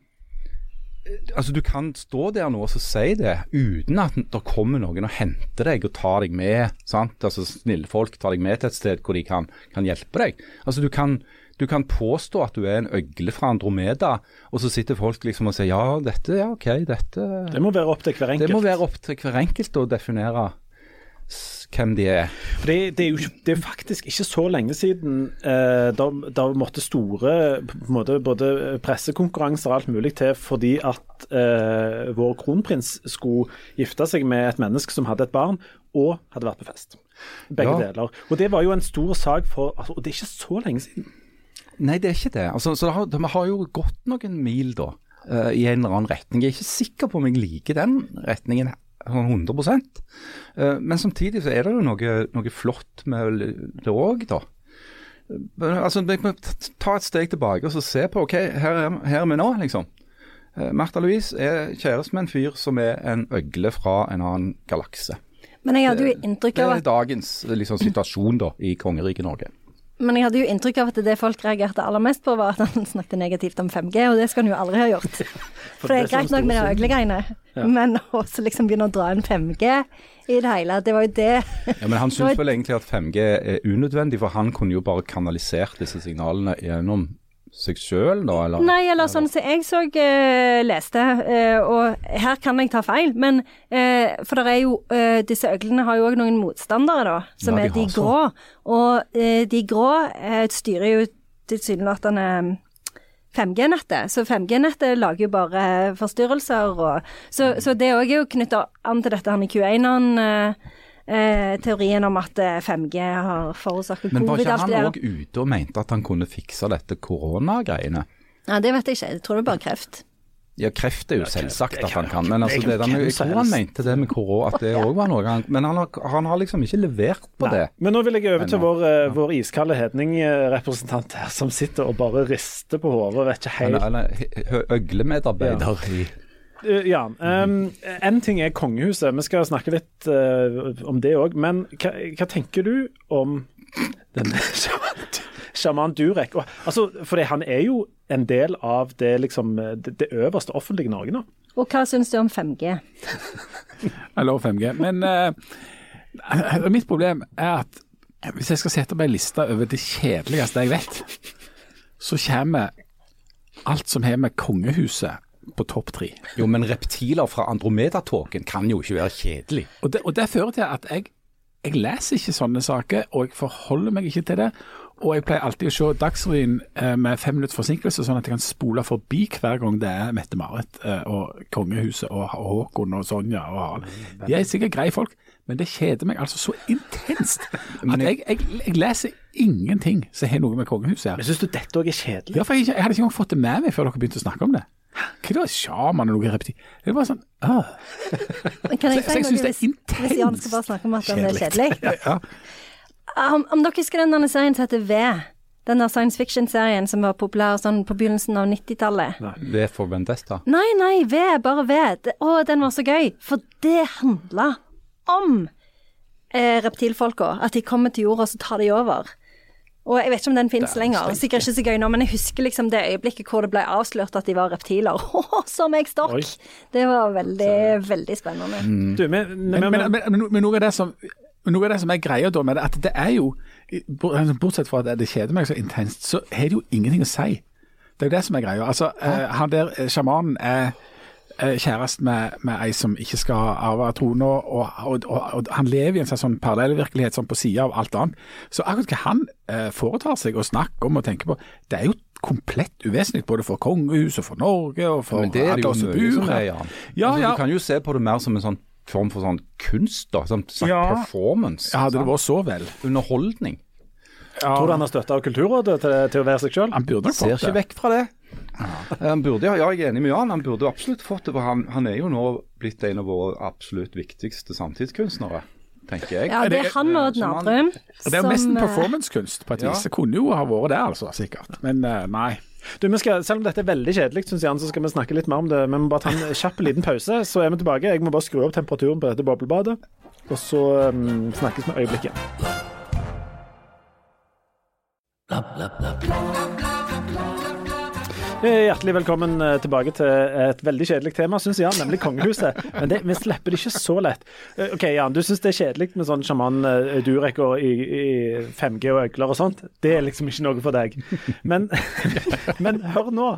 Speaker 1: altså Du kan stå der nå og så si det uten at det kommer noen og henter deg og tar deg med. sant? Altså Snille folk tar deg med til et sted hvor de kan, kan hjelpe deg. Altså Du kan du kan påstå at du er en øgle fra Andromeda, og så sitter folk liksom og sier ja, dette, ja, OK, dette
Speaker 4: Det må være opp til hver enkelt.
Speaker 1: Det må være opp til hver enkelt å definere s- hvem de er.
Speaker 4: For det, det, er jo ikke, det er faktisk ikke så lenge siden eh, da, da måtte store på en måte, både pressekonkurranser og alt mulig til fordi at eh, vår kronprins skulle gifte seg med et menneske som hadde et barn og hadde vært på fest. Begge
Speaker 1: Ja.
Speaker 4: deler. Og det var jo en stor sak for altså, Og det er ikke så lenge siden.
Speaker 1: Nei, det er ikke det. Altså, så det har, vi har jo gått noen mil da, eh, i en eller annen retning. Jeg er ikke sikker på om jeg liker den retningen sånn 100 Eh, Men samtidig så er det jo noe, noe flott med det òg, da. Men, altså, vi må t- ta et steg tilbake og så se på OK, her er, her er vi nå, liksom. Eh, Martha Louise er kjæreste med en fyr som er en øgle fra en annen galakse.
Speaker 3: Men jeg hadde jo inntrykk
Speaker 1: Det
Speaker 3: av
Speaker 1: er
Speaker 3: at,
Speaker 1: dagens liksom, situasjon da, i kongeriket Norge.
Speaker 3: men jeg hadde jo inntrykk av at det folk reagerte aller mest på, var at han snakket negativt om 5G, og det skal han jo aldri ha gjort. For det er
Speaker 4: det som er
Speaker 3: greit nok med de
Speaker 4: stor synd.
Speaker 3: øglegreiene, men også liksom begynne å dra inn 5G i det hele, det var jo det.
Speaker 1: Ja, Men han
Speaker 3: var
Speaker 1: syns
Speaker 3: et-
Speaker 1: vel egentlig at 5G er unødvendig, for han kunne jo bare kanalisert disse signalene gjennom seg sjøl, da, eller?
Speaker 3: Nei, eller sånn som jeg så eh, leste, eh, og her kan jeg ta feil, men eh, For det er jo eh, Disse øglene har jo òg noen motstandere, da, som
Speaker 1: Ja, de
Speaker 3: er de
Speaker 1: har så.
Speaker 3: grå. Og eh, de grå eh, styrer jo tilsynelatende 5G-nettet. Så 5G-nettet lager jo bare forstyrrelser og Så,
Speaker 1: Mm.
Speaker 3: så det òg er jo knytta an til dette her med Q1-teorien om at eh, 5G har forårsaka
Speaker 1: Men var
Speaker 3: covid.
Speaker 1: ikke
Speaker 3: alt
Speaker 1: han
Speaker 3: det der.
Speaker 1: òg ute og mente at han kunne fikse dette koronagreiene?
Speaker 3: Nei, det vet jeg ikke. Jeg tror det er bare kreft.
Speaker 1: Ja, kreft er jo selvsagt at han kan,
Speaker 4: det
Speaker 1: men altså
Speaker 4: kan
Speaker 1: det der med,
Speaker 4: hvem
Speaker 1: jeg
Speaker 4: som
Speaker 1: tror han
Speaker 4: helst.
Speaker 1: mente det med korona, at det òg var noe han Men han har, han har liksom ikke levert på det.
Speaker 4: Men nå vil jeg over til
Speaker 1: Nei,
Speaker 4: vår, eh, vår iskalde hedning-representant her, som sitter og bare rister på hodet og vet ikke helt
Speaker 1: Eller, eller he- he- øglemedarbeider i
Speaker 4: Eh, ja. ehm, en ting er kongehuset. Vi skal snakke litt eh, om det òg. Men hva, hva tenker du om denne sjaman, sjaman Durek? Og, altså, for han er jo en del av det, liksom, det, det øverste offentlige Norge nå.
Speaker 3: Og hva syns du om 5G?
Speaker 5: Jeg lover 5G. Men eh, mitt problem er at hvis jeg skal sette opp ei liste over det kjedeligste jeg vet, så kommer alt som har med kongehuset på topp tre.
Speaker 1: Jo, men reptiler fra Andromedatåken kan jo ikke være kjedelig.
Speaker 5: Og det, og det fører til at jeg, jeg leser ikke sånne saker, og jeg forholder meg ikke til det. Og jeg pleier alltid å se Dagsrevyen eh, med fem minutter forsinkelse, sånn at jeg kan spole forbi hver gang det er Mette-Marit eh, og kongehuset og Håkon og Sonja og Harald. De er sikkert greie folk, men det kjeder meg altså så intenst at jeg, jeg, jeg leser ingenting som har noe med kongehuset å
Speaker 4: Men
Speaker 5: gjøre.
Speaker 4: syns du dette òg er kjedelig?
Speaker 5: Ja, for jeg, jeg hadde ikke engang fått det med meg før dere begynte å snakke om det. Hva er det sjaman og noe reptil? Det var sånn ah.
Speaker 3: Men Kan jeg si
Speaker 5: Så- så jeg
Speaker 3: noe
Speaker 5: synes det er
Speaker 3: hvis, hvis Jan skal bare
Speaker 5: intenst
Speaker 3: snakke om at han er
Speaker 5: kjedelig.
Speaker 3: kjedelig? Om, om dere husker den der serien som heter V, den der science fiction-serien som var populær sånn på begynnelsen av 90-tallet.
Speaker 1: Det får Vendesta.
Speaker 3: Nei, nei, V, bare V. Det- Å, den var så gøy. For det handla om eh, reptilfolka. At de kommer til jorda, så tar de over. Og jeg vet ikke om den fins lenger. Sikkert ikke så gøy nå, men jeg husker liksom det øyeblikket hvor det ble avslørt at de var reptiler. som jeg
Speaker 4: Oi.
Speaker 3: stokk! Det var veldig, veldig spennende.
Speaker 4: Du, men, Mm. men,
Speaker 5: Men,
Speaker 4: men,
Speaker 5: men, men, men, men noe av det som noe av det som er greia da med det, at det er jo altså, Bortsett fra at det kjeder meg så intenst, så har det jo ingenting å si. Det er jo det som er greia. Altså, eh, han der eh, sjamanen er eh, kjæreste med, med ei som ikke skal arve trona, og, og, og, og han lever i en sånn sånn parallellvirkelighet sånn på sida av alt annet. Så akkurat hva han eh, foretar seg og snakker om og tenker på, det er jo komplett uvesentlig både for kongehuset og for Norge og for
Speaker 1: Men det er det jo
Speaker 5: Adas og
Speaker 1: mye som
Speaker 5: Bure.
Speaker 1: er, Jan.
Speaker 5: Ja,
Speaker 1: altså,
Speaker 5: ja.
Speaker 1: Du kan jo se på det mer som en sånn form for sånn kunst, da. Sånn, sånn
Speaker 5: Ja.
Speaker 1: performance.
Speaker 5: Ja, hadde det
Speaker 1: sant?
Speaker 5: vært så vel.
Speaker 1: Underholdning.
Speaker 4: Tror du han har støtte av Kulturrådet til, til å være seg sjøl?
Speaker 5: Han burde nok
Speaker 1: Ser
Speaker 5: fått
Speaker 1: ikke
Speaker 5: det.
Speaker 1: vekk fra det. Han burde, ja, jeg er enig med Jan, han burde jo absolutt fått det. For han, han er jo nå blitt en av våre absolutt viktigste samtidskunstnere, tenker jeg.
Speaker 3: Ja, det er han og
Speaker 1: som han-
Speaker 3: Nadrum.
Speaker 5: Det er jo nesten
Speaker 3: som, eh,
Speaker 5: performancekunst på et
Speaker 1: Ja.
Speaker 5: vis. Det kunne jo ha vært det, altså, sikkert. Men eh, nei.
Speaker 4: Du, vi skal, selv om dette er veldig kjedelig, synes jeg, så skal vi snakke litt mer om det. Vi må bare ta en kjapp liten pause, så er vi tilbake. Jeg må bare skru opp temperaturen på dette boblebadet, og så mm, snakkes vi øyeblikket. Hjertelig velkommen eh, tilbake til et veldig kjedelig tema, syns Jan, nemlig kongehuset. Men det, vi slipper det ikke så lett. Eh, OK, Jan, du syns det er kjedelig med sånn sjaman eh, Durek og i, i 5G og øgler og sånt. Det er liksom ikke noe for deg. Men, men hør nå.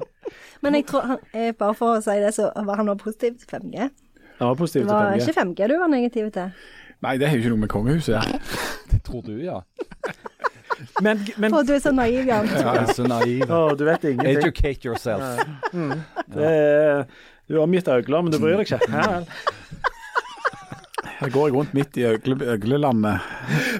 Speaker 3: Men jeg tror, han, eh, bare for å si det, så var han også positiv til 5G.
Speaker 4: Han var
Speaker 3: Det
Speaker 4: positiv til
Speaker 3: var
Speaker 4: 5G.
Speaker 3: ikke 5G du var negativ til.
Speaker 5: Nei, det har jo ikke noe med kongehuset å gjøre.
Speaker 1: Tror du, ja.
Speaker 4: Men, men
Speaker 3: Å, du er så naiv, Jan.
Speaker 1: ja. Jeg er så naiv.
Speaker 4: å, du vet ingenting.
Speaker 1: Educate yourself.
Speaker 4: Det er, du er omgitt av øgler, men du bryr deg ikke. Ja, vel.
Speaker 5: Her går jeg rundt midt i øgle, øglelandet.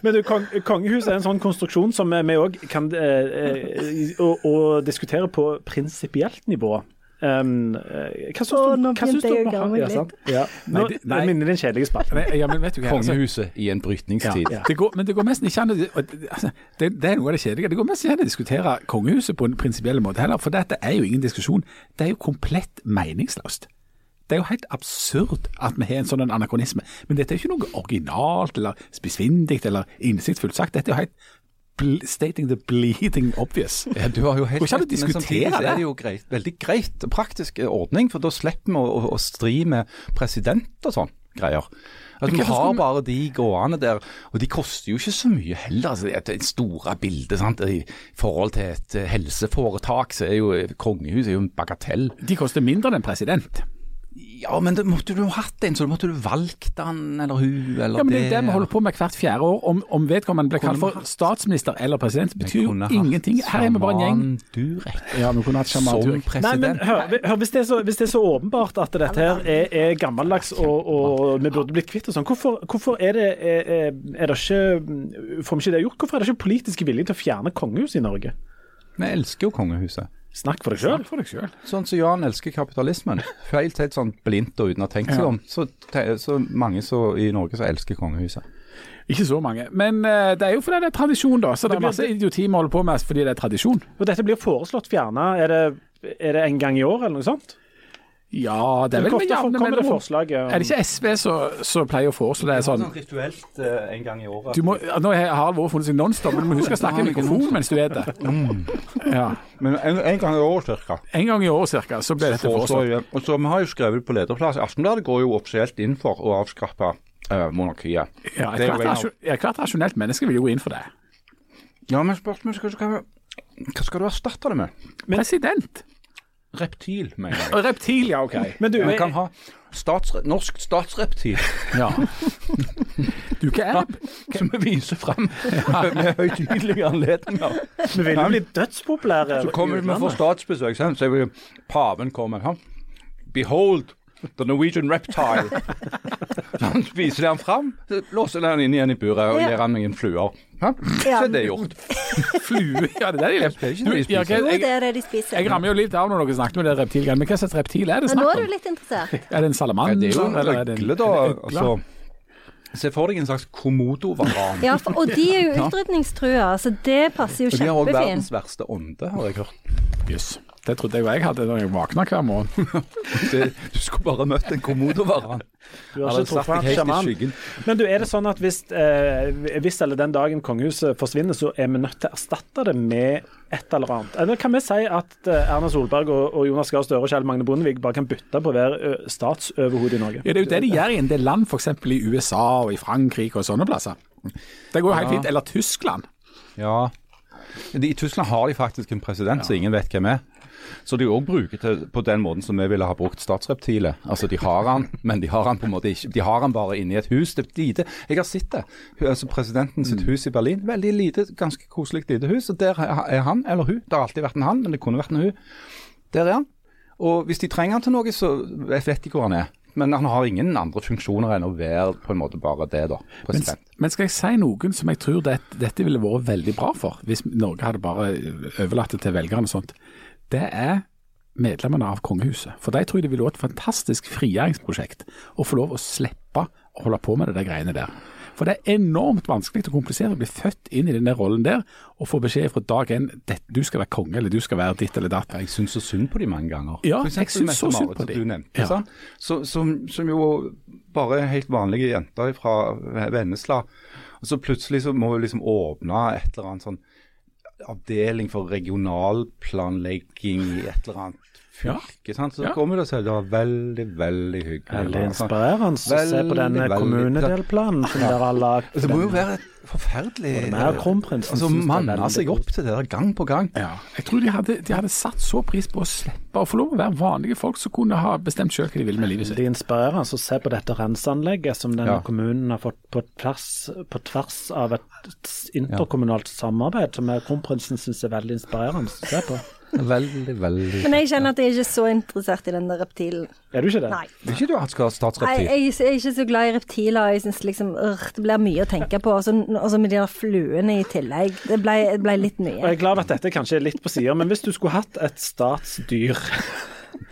Speaker 4: Men du, kong, kongehuset er en sånn konstruksjon som eh, vi òg kan eh, eh, å, å diskutere på prinsipielt nivå. Um, eh, hva syns
Speaker 3: Å,
Speaker 4: du
Speaker 3: nå
Speaker 4: hva syns
Speaker 3: begynte
Speaker 4: du
Speaker 3: jeg å
Speaker 4: om han-
Speaker 3: gammel
Speaker 4: ja,
Speaker 3: litt.
Speaker 4: sant? Ja. Nå
Speaker 5: Nei, det- nei.
Speaker 4: minner den kjedelige spalten.
Speaker 5: Nei, Ja, men vet du hva? altså-
Speaker 1: Kongehuset i en brytningstid.
Speaker 5: Ja. Det går, men det går mest ikke an å og det- altså, det, det er noe av det kjedelige. Det går mest ikke an å diskutere kongehuset på en prinsipiell måte heller, for dette er jo ingen diskusjon. Det er jo komplett meningsløst. Det er jo helt absurd at vi har en sånn en anakronisme. Men dette er jo ikke noe originalt eller spissfindig eller innsiktsfullt sagt. Dette er jo helt bl stating the bleeding obvious.
Speaker 1: Ja, du har jo helt
Speaker 5: Går ikke an å
Speaker 1: rett, men
Speaker 5: diskutere
Speaker 1: samtidig så
Speaker 5: det.
Speaker 1: er det jo greit, veldig greit og praktisk eh, ordning, for da slipper vi å, å, å stri med president og sånn greier. At Vi
Speaker 5: hvorfor
Speaker 1: har
Speaker 5: skulle vi-
Speaker 1: bare de gående der, og de koster jo ikke så mye heller. Altså, det er et store bilde sant? i forhold til et eh, helseforetak, så er jo eh, kongehuset er jo en bagatell.
Speaker 5: De koster mindre enn en president.
Speaker 1: Ja, men da måtte du jo hatt en, så da måtte du valgt han eller hun eller
Speaker 5: Ja, men Det er jo
Speaker 1: det.
Speaker 5: det vi holder på med hvert fjerde år. Om, om vedkommende blir kalt
Speaker 1: Kunne
Speaker 5: for statsminister eller president,
Speaker 1: Vi
Speaker 5: betyr jo
Speaker 1: kunne hatt
Speaker 5: ingenting. Her er vi bare en gjeng.
Speaker 1: Sjaman Durek
Speaker 5: Ja, vi kunne hatt sjaman
Speaker 1: som
Speaker 5: Durek.
Speaker 4: Nei,
Speaker 1: president.
Speaker 4: men hør, hør hvis, det er så, hvis det er så åpenbart at dette her er, er gammeldags og, og vi burde blitt kvitt og sånn, hvorfor, hvorfor er, det, er, er- er det ikke Får vi ikke det gjort? Hvorfor er det ikke politisk vilje til å fjerne kongehuset i Norge?
Speaker 1: Vi elsker jo kongehuset.
Speaker 4: Snakk for deg sjøl.
Speaker 5: for deg sjøl.
Speaker 1: Sånn som Jan elsker kapitalismen, helt, helt sånn blindt og uten å ha tenkt seg om, så, te- så mange så, i Norge som elsker kongehuset.
Speaker 5: Ikke så mange. Men eh, det er jo fordi det er tradisjon, da. Så det er
Speaker 4: blir-
Speaker 5: masse idioti vi holder på med fordi det er tradisjon.
Speaker 4: Og dette blir foreslått fjerna. Er det, er det en gang i år, eller noe sånt?
Speaker 5: Ja, det er vel
Speaker 4: Hvor
Speaker 5: med
Speaker 4: ofte
Speaker 5: jevne
Speaker 4: kommer det
Speaker 5: mellomrom.
Speaker 4: forslag om-
Speaker 5: Er det ikke SV som som pleier å foreslå det sånn?
Speaker 1: rituelt eh, en gang i året.
Speaker 5: Du må, ja, nå har Harald vært funnet seg nonstop, men du må huske å snakke i mikrofonen mens du er det. Ja.
Speaker 1: Men en, en gang i året cirka.
Speaker 5: En gang i året cirka, så blir dette
Speaker 1: Foreslår
Speaker 5: foreslått.
Speaker 1: jo- Og så vi har jo skrevet på lederplass. Aftenbladet går jo offisielt inn for å avskaffe eh, monarkiet.
Speaker 5: Ja,
Speaker 1: Det er jo
Speaker 5: ethvert
Speaker 1: en av-
Speaker 5: rasjon- ja, Ethvert rasjonelt menneske vil jo gå inn for det.
Speaker 1: Ja, men spørsmålet skal, skal, hva skal du erstatte det med?
Speaker 5: President.
Speaker 1: Reptil, mener jeg.
Speaker 5: Og reptil, ja, OK.
Speaker 4: Men du,
Speaker 1: Vi kan ha statsre, norsk statsreptil
Speaker 5: Ja. Du, hva er det?
Speaker 1: som vi viser fram med høytidelige anledninger.
Speaker 4: vi vil jo bli dødspopulære.
Speaker 1: Så kommer vi for statsbesøk, sant? så er vi paven kommer. sant? Behold the Norwegian reptile. Han viser det han fram, så låser han inn igjen i buret og
Speaker 3: Ja.
Speaker 1: gir han noen fluer. Sant? Så
Speaker 3: Ja.
Speaker 1: er det gjort.
Speaker 5: Flue? Ja, det er det de
Speaker 1: Det er ikke
Speaker 5: lever
Speaker 1: det de
Speaker 5: Du, ja,
Speaker 1: spiser.
Speaker 5: hva-
Speaker 3: Jo,
Speaker 5: jeg-
Speaker 3: det er det de spiser.
Speaker 5: Jeg rammer jo liv down når dere snakket om det reptilgreiene, men hva slags reptil er det
Speaker 3: Men nå
Speaker 5: snakk
Speaker 3: er
Speaker 5: om?
Speaker 3: du litt interessert.
Speaker 5: Er det en
Speaker 1: Ja,
Speaker 5: salamander?
Speaker 1: det er jo
Speaker 5: eller
Speaker 1: en
Speaker 5: det en-
Speaker 1: øgle, da.
Speaker 5: en øgle?
Speaker 1: Altså, se for deg en slags komodovaran.
Speaker 3: Ja, for, og de er jo utrydningstrua, så det passer jo
Speaker 1: Og De har òg
Speaker 3: kjempefint.
Speaker 1: verdens verste ånde, har jeg hørt.
Speaker 5: Jøss. Det trodde jeg jo jeg hadde når jeg våkna hver morgen.
Speaker 1: Det, du skulle bare møtt en komodovaran.
Speaker 4: Du
Speaker 5: altså,
Speaker 4: har ikke truffet en sjaman. Men du, er det sånn at hvis, eh, hvis eller den dagen kongehuset forsvinner, så er vi nødt til å erstatte det med et eller annet? Eller kan vi si at eh, Erna Solberg og, og Jonas Gahr Støre og Kjell Magne Bondevik bare kan bytte på å være ø, statsoverhode i Norge?
Speaker 5: Ja, det er jo det de gjør i en del land, f.eks. i USA og i Frankrike og sånne plasser. Det går jo helt fint. Eller Tyskland.
Speaker 1: Ja. De, I Tyskland har de faktisk en president som ingen vet hvem er. Så de òg bruker til på den måten som vi ville ha brukt statsreptilet. Altså de har han, men de har han på en måte ikke. De har han bare inni et hus. Det er et lite Jeg har sett det. Hu- Altså presidenten sitt hus i Berlin. Veldig lite, ganske koselig lite hus. Og der er er han eller hun. Det har alltid vært en han, men det kunne vært en hun. Der er han. Og hvis de trenger han til noe, så vet vet de hvor han er. Men han har ingen andre funksjoner enn å være på en måte bare det, da.
Speaker 5: Men,
Speaker 1: President.
Speaker 5: men skal jeg si noen som jeg tror det, dette ville vært veldig bra for, hvis Norge hadde bare overlatt det til velgerne og sånt, det er medlemmene av kongehuset. For de tror jeg det ville vært et fantastisk frigjøringsprosjekt å få lov å slippe å holde på med det der greiene der. For det er enormt vanskelig og komplisert å bli født inn i den der rollen der, og få beskjed fra dag én «Det- du skal være konge, eller du skal være ditt eller datt.
Speaker 1: Ja, jeg syns så synd på de mange ganger.
Speaker 5: Ja,
Speaker 1: For eksempel
Speaker 5: jeg syns så
Speaker 1: Mette-Marit,
Speaker 5: synd på
Speaker 1: som
Speaker 5: de.
Speaker 1: Du nevnte,
Speaker 5: Ja.
Speaker 1: sant? Så, som, som jo bare er helt vanlige jenter fra Vennesla. Og så plutselig så må hun liksom åpne et eller annet sånn avdeling for regionalplanlegging i et eller annet fylke. Sant? Så
Speaker 5: Ja.
Speaker 1: kommer det og sier det var veldig, veldig
Speaker 4: Veldig
Speaker 1: hyggelig. sant?
Speaker 4: inspirerende å se på den eh,
Speaker 1: Veldig, veldig-
Speaker 4: kommunedelplanen som dere har lagd.
Speaker 1: Det må jo være forferdelig
Speaker 4: mer kronprinsen
Speaker 1: Altså
Speaker 4: synes det er
Speaker 1: manne
Speaker 4: veldig
Speaker 1: seg opp til det der gang på gang.
Speaker 5: Ja, jeg tror de hadde, de hadde satt så pris på å slippe å få lov å være vanlige folk som kunne ha bestemt sjøl hva de ville med livet sitt.
Speaker 4: Det er inspirerende å altså, se på dette renseanlegget som denne
Speaker 1: Ja.
Speaker 4: kommunen har fått på tvers, på tvers av et interkommunalt samarbeid, som jeg- kronprinsen syns er veldig inspirerende å se på.
Speaker 1: Veldig, veldig
Speaker 3: Men jeg kjenner at jeg er ikke så interessert i den der reptilen.
Speaker 4: Er du ikke det?
Speaker 3: Nei.
Speaker 1: Vil ikke du at skal ha
Speaker 3: Nei,
Speaker 1: statsreptil?
Speaker 3: jeg, jeg er ikke så glad i reptiler. Jeg synes liksom, øh, Det blir mye å tenke på. Og så og så med de der fluene i tillegg. Det ble, det ble litt
Speaker 4: Og
Speaker 3: mye.
Speaker 4: jeg er glad at dette kanskje er litt på sida, men hvis du skulle hatt et statsdyr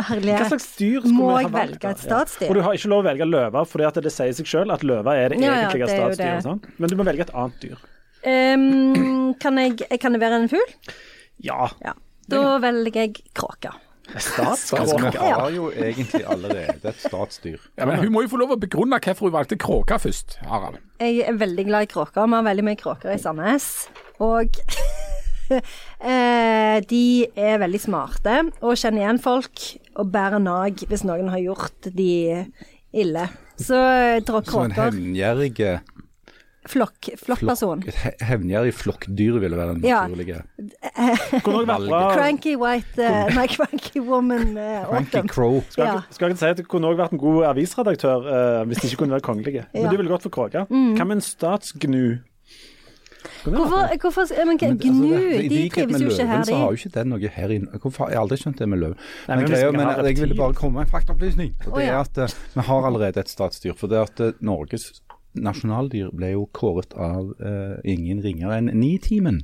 Speaker 3: Herlighet.
Speaker 4: Hva slags dyr skulle
Speaker 3: Må
Speaker 4: vi ha
Speaker 3: jeg
Speaker 4: valgt?
Speaker 3: velge et
Speaker 4: da? Ja.
Speaker 3: statsdyr?
Speaker 4: Og du har ikke lov å velge løver, fordi at det sier seg selv at løver er det
Speaker 3: Ja, ja,
Speaker 4: egentlige
Speaker 3: det er jo
Speaker 4: statsdyret.
Speaker 3: det.
Speaker 4: sant? Men du må velge et annet dyr.
Speaker 3: Ehm, kan, jeg, kan det være en fugl?
Speaker 4: Ja.
Speaker 3: Ja. Da velger jeg kråke.
Speaker 1: Altså,
Speaker 4: Statskråke.
Speaker 1: vi har jo egentlig allerede et statsdyr.
Speaker 5: Ja, men Hun må jo få lov å begrunne hvorfor hun valgte kråka først, Harald.
Speaker 3: Jeg er veldig glad i kråker. Vi har veldig mye kråker i Sandnes. Og eh, de er veldig smarte og kjenner igjen folk og bærer nag hvis noen har gjort de ille. Så jeg tror
Speaker 1: Som en
Speaker 3: kråker
Speaker 1: hevngjerrig eh,
Speaker 3: Flokk, flokkperson.
Speaker 1: flokk- et he- hevngjerrig flokkdyr ville være den
Speaker 3: Ja.
Speaker 1: naturlige.
Speaker 4: Kunne også vært bra
Speaker 3: Cranky white eh, Nei, cranky woman eh,
Speaker 1: Frankie
Speaker 3: autumn.
Speaker 1: Crow.
Speaker 4: Skal,
Speaker 3: Ja.
Speaker 4: ikke- skal ikke si at det kunne også vært en god avisredaktør eh, hvis de ikke kunne være kongelige. Men
Speaker 3: Ja. Mm.
Speaker 4: du ville gått for kråke. Hva med en statsgnu?
Speaker 3: Hvorfor, hvorfor eh, men,
Speaker 1: Men,
Speaker 3: Gnu,
Speaker 1: altså, det- i
Speaker 3: de
Speaker 1: likhet
Speaker 3: trives
Speaker 1: med
Speaker 3: jo ikke
Speaker 1: løven,
Speaker 3: her,
Speaker 1: Så har jo
Speaker 3: de.
Speaker 1: ikke den noe her inne. Hvorfor har jeg aldri skjønt det med løven?
Speaker 4: Nei,
Speaker 1: Men,
Speaker 4: men hvis
Speaker 1: greia,
Speaker 4: vi
Speaker 1: men
Speaker 4: har
Speaker 1: jeg ville
Speaker 4: reptil-
Speaker 1: bare komme med en faktaopplysning. Og
Speaker 3: Å,
Speaker 1: det
Speaker 3: ja.
Speaker 1: er at eh, vi har allerede et statsdyr. For det at eh, Norges nasjonaldyr ble jo kåret av eh, ingen ringere enn Nitimen.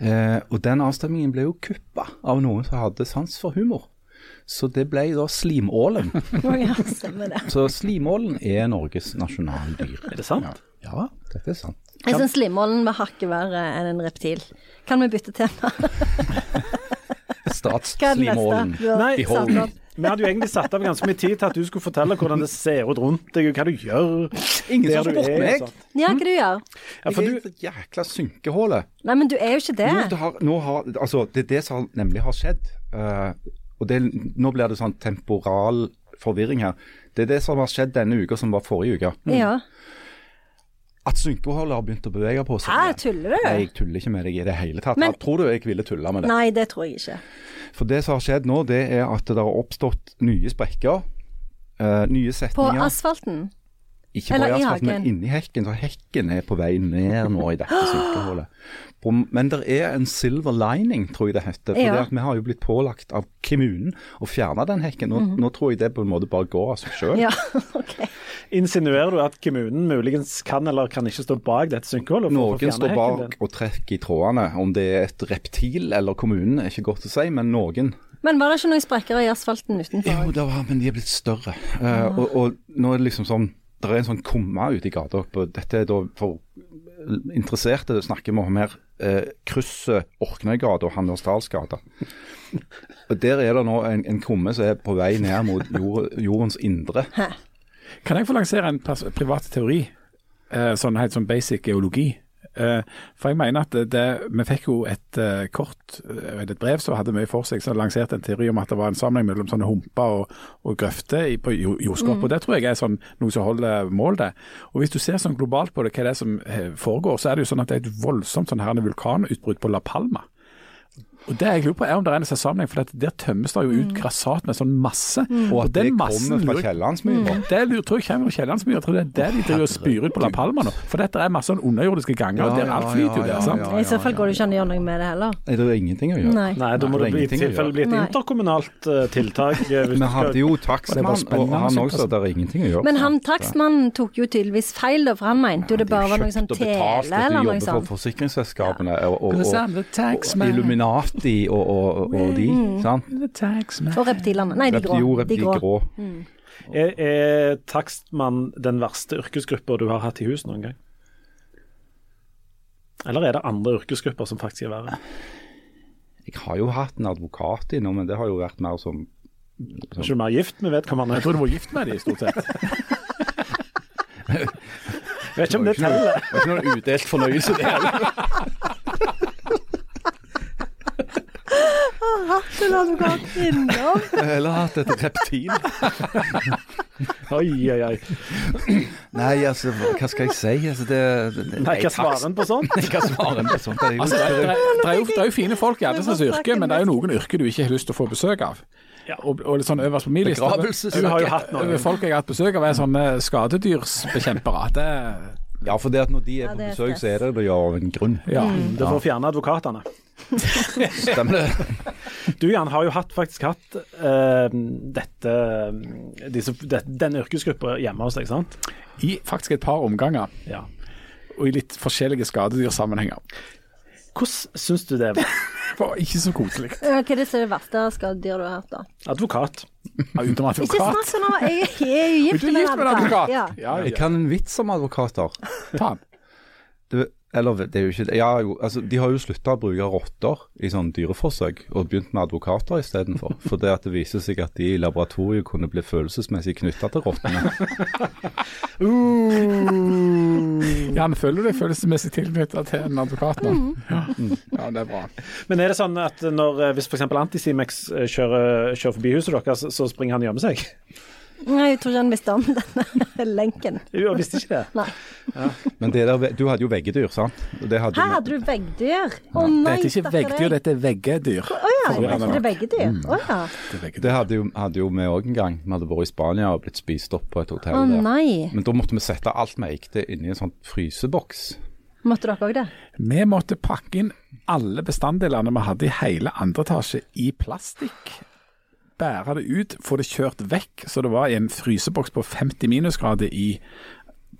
Speaker 1: Eh, og den avstemningen ble jo kuppa av noen som hadde sans for humor. Så det ble da slimålen.
Speaker 3: Å ja, stemmer det.
Speaker 1: Så slimålen er Norges nasjonaldyr.
Speaker 4: Er det sant?
Speaker 1: Ja, dette er sant.
Speaker 3: Jeg syns slimålen var hakket verre enn en reptil. Kan vi bytte tema? Hva er det
Speaker 1: Statsslimålen.
Speaker 3: neste?
Speaker 4: Nei,
Speaker 3: Du har
Speaker 1: Behold.
Speaker 3: satt opp.
Speaker 4: Vi hadde jo egentlig satt av ganske mye tid til at du skulle fortelle hvordan det ser ut rundt deg, og hva du gjør.
Speaker 1: Ingen
Speaker 4: der
Speaker 1: som
Speaker 4: du
Speaker 1: spurte
Speaker 4: er,
Speaker 1: meg.
Speaker 4: og sånt.
Speaker 3: Ja, hva du gjør?
Speaker 4: Ja, for
Speaker 1: Jeg er
Speaker 4: du,
Speaker 1: i et jækla synkehålet.
Speaker 3: Nei, men du er jo ikke det.
Speaker 1: Jo, det, har, nå har, altså, det er det som nemlig har skjedd. eh, og det, nå blir det sånn temporal forvirring her. Det er det som har skjedd denne uka som var forrige uke.
Speaker 3: Mm. Ja.
Speaker 1: At synkeholdet har begynt å bevege på seg.
Speaker 3: Hæ,
Speaker 1: igjen.
Speaker 3: Ah, tuller du?
Speaker 1: Nei, jeg tuller ikke med deg i det hele tatt.
Speaker 3: Men-
Speaker 1: jeg tror du jeg ville tulle med det?
Speaker 3: Nei, det tror jeg ikke.
Speaker 1: For det som har skjedd nå, det er at det har oppstått nye sprekker. eh, nye
Speaker 3: På
Speaker 1: setninger.
Speaker 3: asfalten.
Speaker 1: Ikke
Speaker 3: Eller
Speaker 1: bare
Speaker 3: i
Speaker 1: i asfalt, men
Speaker 3: hagen.
Speaker 1: inni hekken. Så hekken er på vei ned nå i dette sykehulet. Men det er en silver lining, tror jeg det heter. For
Speaker 3: Ja.
Speaker 1: det at vi har jo blitt pålagt av kommunen å fjerne den hekken. Nå, nå tror jeg det på en måte bare går av seg
Speaker 3: Mhm.
Speaker 1: sjøl.
Speaker 3: Ja, OK.
Speaker 4: insinuerer du at kommunen muligens kan eller kan ikke stå bak dette synkeholdet? for å få
Speaker 1: Noen
Speaker 4: fjerne
Speaker 1: står
Speaker 4: hekken
Speaker 1: bak
Speaker 4: din?
Speaker 1: og trekker i trådene. Om det er et reptil eller kommunen, er ikke godt å si, men noen
Speaker 3: Men var det ikke noen sprekker i asfalten utenfor?
Speaker 1: Jo, det var, men de er blitt større. Eh,
Speaker 3: Ah.
Speaker 1: og, og nå er det liksom sånn Det er en sånn kumma ute i gata. på- Dette er da for interesserte. Det snakker vi om her. Uh, krysset Orknøygata og Handelsdalsgata. Og der er det nå en, en kumme som er på vei ned mot jord, jordens indre.
Speaker 5: Kan jeg få lansere en pers privat teori, eh, sånn helt sånn basic geologi? Eh, for jeg mener at det, det, vi fikk jo et eh, kort, eh, et brev som hadde mye for seg, som lanserte en teori om at det var en sammenheng mellom sånne humper og, og grøfter i, på jo- jordskorpa.
Speaker 1: Mm.
Speaker 5: Og Det tror jeg er sånn, noe som holder mål, det. Og Hvis du ser sånn globalt på det, hva det er som eh, foregår, så er det jo sånn at det er et voldsomt sånn her vulkanutbrudd på La Palma. Og det jeg lurer på er om det er en sånn sammenheng, for at der tømmes det jo ut grassat med sånn masse.
Speaker 1: Mm. Og at det
Speaker 5: den
Speaker 1: kommer fra
Speaker 5: lurer-
Speaker 1: kjelleren så mye.
Speaker 3: Mm.
Speaker 5: Det lurer- tror jeg kommer fra kjelleren så mye. Jeg tror det er det de driver og spyr ut på La Palma nå. For dette er masse sånn underjordiske ganger, og
Speaker 1: Ja,
Speaker 5: der alt
Speaker 1: ja,
Speaker 5: flyter jo
Speaker 1: ja,
Speaker 5: der.
Speaker 1: ja,
Speaker 5: sant?
Speaker 1: ja.
Speaker 3: I så fall går det ikke an å gjøre noe med det heller.
Speaker 1: Nei, det er ingenting å gjøre.
Speaker 3: Nei.
Speaker 4: Nei, da må
Speaker 1: Nei, det
Speaker 4: det
Speaker 1: er
Speaker 4: bli- i
Speaker 1: ingenting å
Speaker 4: tilfelle
Speaker 1: gjøre.
Speaker 4: bli et
Speaker 3: Nei.
Speaker 4: interkommunalt eh, tiltak. eh, hvis du
Speaker 1: Vi
Speaker 4: skal-
Speaker 1: hadde jo
Speaker 5: Det er bare
Speaker 1: takstmann, og
Speaker 5: spennende
Speaker 1: han
Speaker 5: å
Speaker 1: også sa
Speaker 5: sitte
Speaker 1: det er ingenting å gjøre.
Speaker 3: Men han takstmannen tok jo tydeligvis feil, da, for han mente jo det bare var noe sånn tele eller noe
Speaker 1: jobber for
Speaker 3: sånt.
Speaker 1: forsikringsselskapene og, og,
Speaker 5: Cause I'm
Speaker 1: og,
Speaker 5: the
Speaker 1: og
Speaker 5: tax man.
Speaker 1: Illuminati og, og, og de. Sant?
Speaker 5: The tax man.
Speaker 3: Og reptilene. Nei, de Mm. grå.
Speaker 1: Jo,
Speaker 3: De
Speaker 1: de
Speaker 3: grå. Mm.
Speaker 1: grå.
Speaker 4: Er, er takstmann den verste yrkesgruppa du har hatt i hus noen gang? Eller er det andre yrkesgrupper som faktisk er verre?
Speaker 1: Jeg har jo hatt en advokat innom, men det har jo vært mer som
Speaker 4: Er ikke du mer gift med vedkommende?
Speaker 5: Jeg tror du var gift med de, stort sett.
Speaker 4: Jeg vet ikke om det teller.
Speaker 1: var ikke noe- det var ikke noe udelt fornøyelse, det heller.
Speaker 3: Hatten hadde gått innom.
Speaker 1: Heller hatt et reptil.
Speaker 4: Oi, oi, oi.
Speaker 1: Nei, altså, hva skal jeg si? Altså, det, det, det
Speaker 4: Nei, hva svarer en på sånt?
Speaker 1: Jeg kan svare på sånt. Det er jo
Speaker 5: Altså, det,
Speaker 1: det,
Speaker 5: er, det, er jo, det er jo fine folk i alle
Speaker 3: Nå
Speaker 5: slags
Speaker 3: må jeg
Speaker 5: yrker,
Speaker 3: snakke
Speaker 5: men det er jo noen yrker du ikke har lyst til å få besøk av.
Speaker 4: Ja.
Speaker 5: Og, og litt sånn øverst på min liste
Speaker 1: Begravelse,
Speaker 5: Du har jo hatt
Speaker 4: noen.
Speaker 5: Folk jeg har hatt besøk av, er sånne skadedyrsbekjempere. Det,
Speaker 1: ja, for det at når de er
Speaker 3: Ja,
Speaker 1: på
Speaker 3: det er
Speaker 1: besøk,
Speaker 3: stress.
Speaker 1: så er det det ja, av en grunn.
Speaker 5: ja.
Speaker 4: Det får fjerne advokatene.
Speaker 1: Stemmer det?
Speaker 4: Du Jan, har jo hatt, faktisk hatt eh, dette, eh, disse, det, denne yrkesgruppa hjemme hos deg, sant?
Speaker 5: I faktisk et par omganger,
Speaker 4: Ja.
Speaker 5: og i litt forskjellige skadedyrsammenhenger.
Speaker 4: Hvordan syns du det var?
Speaker 5: For ikke så koselig.
Speaker 3: Hva er det som er det verste skadedyret du har hatt, da?
Speaker 4: Advokat.
Speaker 5: Ja, Utenom
Speaker 3: Ikke snakk
Speaker 5: advokat.
Speaker 3: sånn nå, jeg er jo
Speaker 5: Men
Speaker 3: gift
Speaker 5: Du er
Speaker 3: med
Speaker 5: gift med en advokat.
Speaker 3: Ja.
Speaker 5: Ja,
Speaker 1: Jeg
Speaker 5: ja.
Speaker 1: kan en vits om advokater.
Speaker 5: Ta den.
Speaker 1: Det, eller, det er jo ikke det. Ja, jo, altså, de har jo slutta å bruke rotter i sånne dyreforsøk, og begynt med advokater istedenfor. For det at det viser seg at de i laboratoriet kunne bli følelsesmessig knytta til rottene.
Speaker 5: Jan, føler du deg følelsesmessig tilknytta til en advokat nå? Ja. Mm. ja, det er bra.
Speaker 4: Men er det sånn at når, hvis f.eks. Antisimex eh, kjører, kjører forbi huset deres, så- så springer han og gjemmer seg?
Speaker 3: Nei, jeg tror ikke han visste om denne lenken.
Speaker 4: Jeg visste ikke det.
Speaker 3: Nei.
Speaker 1: Men det der, du hadde jo veggedyr, sant? Og det hadde
Speaker 3: Her
Speaker 1: jo-
Speaker 3: hadde du veggdyr. Å nei,
Speaker 5: Dette er ikke veggdyr, dette er veggedyr.
Speaker 3: Å ja,
Speaker 5: Forvirrende
Speaker 3: jeg trodde
Speaker 5: nok. Mm.
Speaker 3: veggdyr. Å ja.
Speaker 1: Det hadde jo, hadde jo vi òg en gang. Vi hadde vært i Spania og blitt spist opp på et hotell.
Speaker 3: Å
Speaker 1: der.
Speaker 3: nei.
Speaker 1: Men da måtte vi sette alt vi eide inni en sånn fryseboks.
Speaker 3: Måtte dere òg det?
Speaker 5: Vi måtte pakke inn alle bestanddelene vi hadde i hele andre etasje i plastikk. Bære det ut, få det kjørt vekk, så det var i en fryseboks på 50 minusgrader i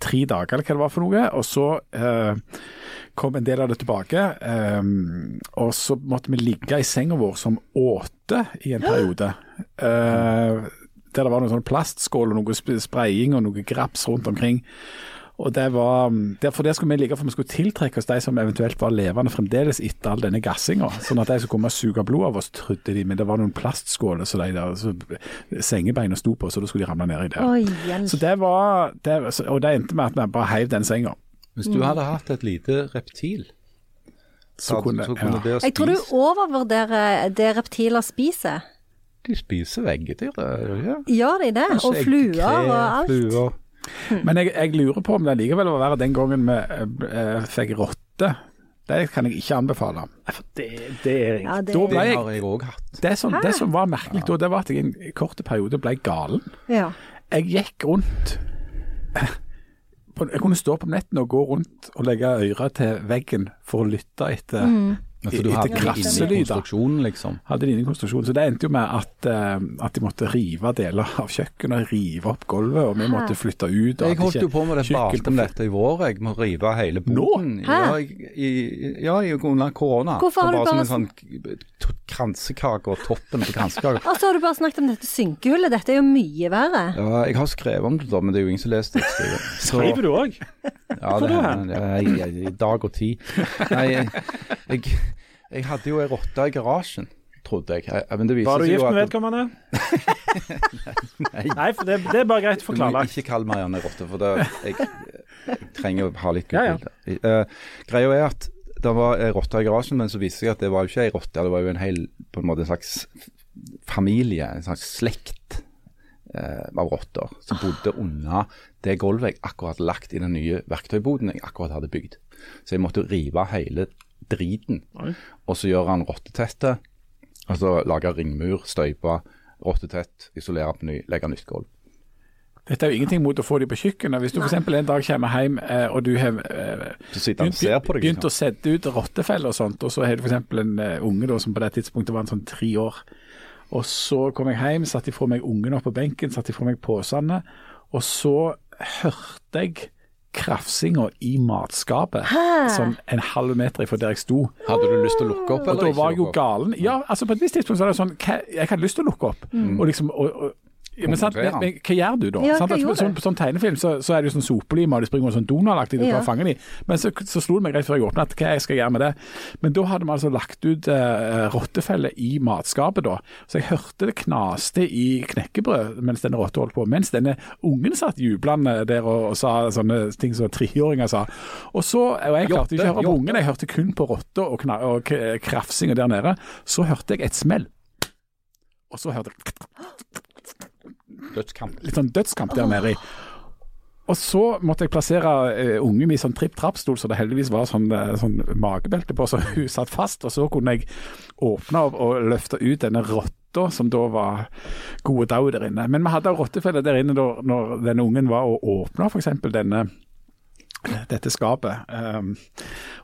Speaker 5: tre dager, eller hva det var for noe. Og så eh, kom en del av det tilbake. Eh, og så måtte vi ligge i senga vår som åte i en periode. Eh, der det var noen sånn plastskål og noe sp- spraying og noe graps rundt omkring. Og det var, derfor der skulle vi ligge, for vi skulle tiltrekke oss de som eventuelt var levende fremdeles etter all denne gassinga. Sånn at de som kom og suge blod av oss, trodde de, men det var noen plastskåler så de der så sengebeina sto på, så da skulle de ramle ned i det.
Speaker 3: Oi, hjelp.
Speaker 5: Så det var det, så- Og det endte med at vi bare heiv den senga.
Speaker 1: Hvis
Speaker 3: Mm.
Speaker 1: du hadde hatt et lite reptil,
Speaker 5: Så kunne,
Speaker 1: så kunne
Speaker 5: ja.
Speaker 1: det å
Speaker 3: Jeg tror du
Speaker 1: spise
Speaker 3: overvurderer det reptiler spiser.
Speaker 1: De spiser veggedyr, gjør de ikke?
Speaker 3: Gjør de det? Og fluer og alt.
Speaker 1: Fluer.
Speaker 5: Men jeg, jeg lurer på om det likevel var verre den gangen vi eh, eh, fikk rotte. Det kan jeg ikke anbefale.
Speaker 4: Nei, for Det, det er
Speaker 3: Ja,
Speaker 4: egentlig
Speaker 3: det,
Speaker 5: Da
Speaker 1: Det
Speaker 5: ble jeg,
Speaker 1: har jeg òg hatt.
Speaker 5: det, som, det som var merkelig da, det var at jeg i en kort periode ble galen.
Speaker 3: ja.
Speaker 5: Jeg gikk rundt på- Jeg kunne stå på nettene og gå rundt og legge øret til veggen for å lytte etter
Speaker 1: Altså, du
Speaker 5: etter
Speaker 1: hadde det inni
Speaker 5: krasselyder.
Speaker 1: konstruksjonen, liksom.
Speaker 5: hadde de ingen konstruksjon. Så det endte jo med at, eh, at de måtte rive deler av kjøkkenet, rive opp gulvet, og vi måtte flytte ut. og
Speaker 1: Jeg
Speaker 5: at
Speaker 1: holdt
Speaker 5: ikke
Speaker 1: jo på med det
Speaker 5: kjøkken-
Speaker 1: bakenettet i vår, jeg må rive hele boden.
Speaker 5: Nå?
Speaker 1: Ja, jeg- i- ja, i- under korona.
Speaker 3: Hvorfor har
Speaker 1: Det var
Speaker 3: du bare
Speaker 1: som en sånn t- kransekake og toppen på kransekaka.
Speaker 3: Og så har du bare snakket om dette synkehullet. Dette er jo mye verre.
Speaker 1: Ja, jeg har skrevet om det, da, men det er jo ingen som leser det. jeg skriver. Så-
Speaker 4: Driver du òg?
Speaker 1: Ja, det hender. Nei, jeg- I dag og tid. Nei, jeg, jeg, jeg hadde jo ei rotte i garasjen, trodde jeg. jeg. Men det viser
Speaker 4: Var du
Speaker 1: seg
Speaker 4: gift
Speaker 1: jo
Speaker 4: med
Speaker 1: at
Speaker 4: vedkommende? Nei, for det, det er bare greit å
Speaker 1: Du
Speaker 4: få
Speaker 1: må
Speaker 4: klarlagt.
Speaker 1: ikke kalle Marianne ei rotte, for det, jeg, jeg trenger å ha litt
Speaker 4: Ja, ja.
Speaker 1: gull. Eh, greia er at det var ei rotte i garasjen, men så viste det seg at det var jo ikke ei rotte, det var jo en hel på en måte en slags familie, en slags slekt eh, av rotter, som
Speaker 4: Ah.
Speaker 1: bodde unna det gulvet jeg akkurat hadde lagt i den nye verktøyboden jeg akkurat hadde bygd. Så jeg måtte rive hele driten.
Speaker 4: Oi.
Speaker 1: Og så gjør han rottetette. Altså lage ringmur, støype, rottetett, isolere på ny, legge nytt gulv.
Speaker 5: Dette er jo ingenting mot å få de på kjøkkenet. Hvis du f.eks. en dag kommer hjem eh, og du har eh,
Speaker 1: Så sitter han og ser
Speaker 5: begynt,
Speaker 1: på deg.
Speaker 5: begynt å
Speaker 1: Liksom.
Speaker 5: sette ut rottefeller og sånt, og så har du f.eks. en eh, unge da, som på det tidspunktet var en sånn tre år. Og så kom jeg hjem, satte ifra meg ungen opp på benken, satte ifra meg posene, og så hørte jeg krafsinga i matskapet, sånn en halv meter ifra der jeg sto.
Speaker 1: Hadde du lyst til å lukke opp,
Speaker 5: Og da
Speaker 1: eller
Speaker 5: var jeg
Speaker 1: ikke?
Speaker 5: jo
Speaker 1: lukke opp?
Speaker 5: galen. Ja, altså på et visst tidspunkt så var det sånn hva, Jeg hadde lyst til å lukke opp. Og liksom, og, og, ja, men, sant, men, men hva gjør du da?
Speaker 3: Mm. Ja,
Speaker 5: sant?
Speaker 3: hva
Speaker 5: At på
Speaker 3: gjorde
Speaker 5: sånn, på sånn tegnefilm så, så er det jo sånn sopelime, og de springer rundt sånn Donald-aktig, du
Speaker 3: Ja.
Speaker 5: kan fange de. Men så, så slo det meg rett før jeg åpna at hva jeg skal gjøre med det. Men da hadde vi altså lagt ut eh, rottefelle i matskapet da. Så jeg hørte det knaste i knekkebrød mens denne rotta holdt på. Mens denne ungen satt jublende der og, og sa sånne ting som treåringer sa. Og så, og jeg klarte ikke å høre på
Speaker 1: Jotte,
Speaker 5: ungen, jeg hørte kun på rotta og, kna- og k- krafsinga der nede. Så hørte jeg et smell. Og så hørte jeg
Speaker 1: Dødskamp.
Speaker 5: litt sånn dødskamp der nede. i. Og så måtte jeg plassere eh, ungen i sånn tripp-trapp-stol, så det heldigvis var sånn, eh, sånn magebelte på, så hun satt fast. Og så kunne jeg åpne opp og løfte ut denne rotta, som da var gode dag der inne. Men vi hadde rottefelle der inne da når denne ungen var og åpna f.eks. denne eh, dette skapet ehm,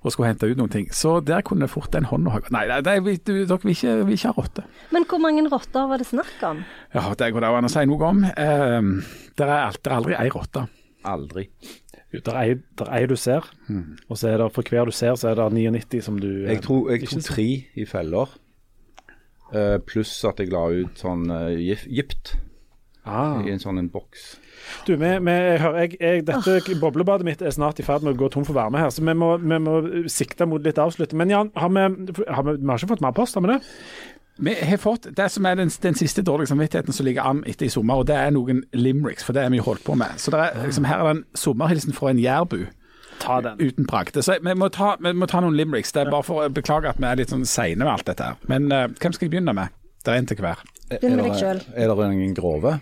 Speaker 5: og skulle hente ut noen ting. Så der kunne fort den hånda ha Nei, nei, nei vi- du, dere vil ikke, vil ikke ha rotte.
Speaker 3: Men hvor mange rotter var det snakk om?
Speaker 5: Ja, det går det an å si noe om. Ehm, det er alt- det er aldri ei rotte.
Speaker 1: Aldri.
Speaker 4: Det er ei- det er ei du ser, og så er det for hver du ser, så er det 99 som du eh,
Speaker 1: Jeg tror, jeg
Speaker 4: ikke
Speaker 1: tror
Speaker 4: ser.
Speaker 1: tre i feller. Eh, pluss at jeg la ut sånn eh, gif- gypt
Speaker 4: Ah.
Speaker 1: i en sånn en boks.
Speaker 4: Du, vi, vi, jeg hører, jeg, jeg, dette boblebadet mitt er snart i ferd med å gå tom for varme her, så vi må, vi må sikte mot litt avslutning. Men Jan, har vi, har vi, vi har ikke fått mer post, har vi det?
Speaker 5: Vi har fått det som er den, den siste dårlige samvittigheten som ligger an etter i sommer, og det er noen limericks, for det har vi jo holdt på med. Så det er, liksom, her er det en sommerhilsen fra en jærbu
Speaker 4: Ah. Ta den.
Speaker 5: uten prakt. Så vi må, ta, vi må ta noen limericks. Det er bare for å beklage at vi er litt sånn seine med alt dette her. Men eh, hvem skal jeg begynne med? Det er en til hver.
Speaker 3: Begynn med
Speaker 1: Er
Speaker 3: deg
Speaker 1: det-
Speaker 3: selv.
Speaker 1: Er det ingen grove?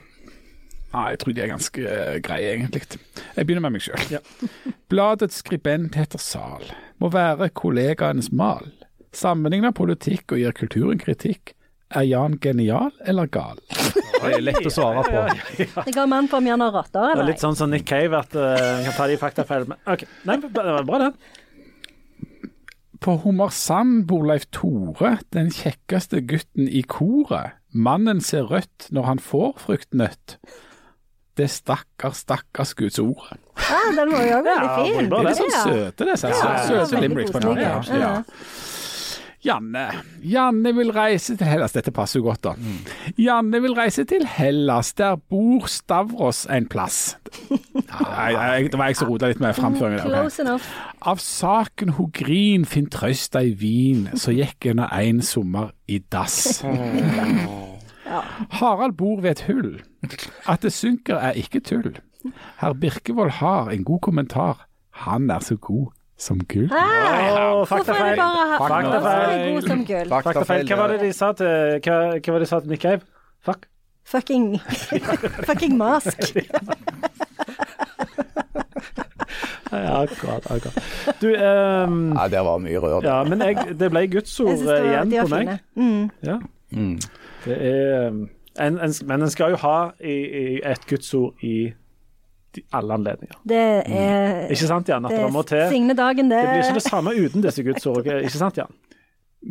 Speaker 5: Ja, jeg tror de er ganske eh, greie, egentlig. Jeg begynner med meg sjøl. Bladets skribent heter Sal, må være kollegaenes mal. Sammenligner politikk og gir kulturen kritikk. Er Jan genial eller gal?
Speaker 1: Det er lett å svare på.
Speaker 3: Jeg har mann på om han har rotter
Speaker 4: Det er
Speaker 3: eller ei.
Speaker 4: litt sånn som Nick Cave, at eh, en kan ta de faktafeil med OK. Nei, det var bra, den.
Speaker 5: På Hummersand bor Leif Tore, den kjekkeste gutten i koret. Mannen ser rødt når han får fruktnøtt. Det stakkars, stakkars Guds ord.
Speaker 3: Ja, Ah, den var jo også
Speaker 4: Ja,
Speaker 3: veldig fin.
Speaker 4: bra,
Speaker 5: Det er
Speaker 4: det.
Speaker 5: litt sånn søte, det. Ja,
Speaker 3: Ja,
Speaker 5: søte
Speaker 3: veldig
Speaker 5: limericks på en måte.
Speaker 3: koselige.
Speaker 5: Ja.
Speaker 3: Ja.
Speaker 5: Janne. Janne vil reise til Hellas. Dette passer jo godt, da. Janne vil reise til Hellas. Der bor Stavros en plass. Nei, jeg, det var jeg som rota litt med framføringen. der, ok.
Speaker 3: Close enough.
Speaker 5: Av saken ho grin finn trøsta i vin, så gikk henne ein sommer i dass. Harald bor ved et hull. At det synker er ikke tull. Herr Birkevold har en god kommentar. Han er så god som gull.
Speaker 4: Å,
Speaker 3: Hvorfor er det
Speaker 4: faktafeil.
Speaker 3: bare her?
Speaker 4: Faktafeil.
Speaker 3: Hvorfor er det god som gull?
Speaker 4: Faktafeil. Hva var det de sa til, hva, hva var det de sa til Nick Cave? Fuck.
Speaker 3: Fucking Fucking mask.
Speaker 4: Ja, akkurat, akkurat. Du, ehm,
Speaker 1: Ja, der var mye rør.
Speaker 4: ja, men jeg, det ble
Speaker 3: Jeg
Speaker 4: gudsord
Speaker 3: synes det var-
Speaker 4: igjen
Speaker 3: de var
Speaker 4: på meg.
Speaker 3: fine. Mm.
Speaker 4: Ja.
Speaker 1: Mm.
Speaker 4: Det er um, en, en, Men en skal jo ha i, i et gudsord i de- alle anledninger.
Speaker 3: Det er
Speaker 4: Mm. Ikke sant, Jan? At det, må
Speaker 3: Det
Speaker 4: til.
Speaker 3: er signedagen, det.
Speaker 4: Det blir ikke det samme uten disse gudsordene, ikke sant, Jan?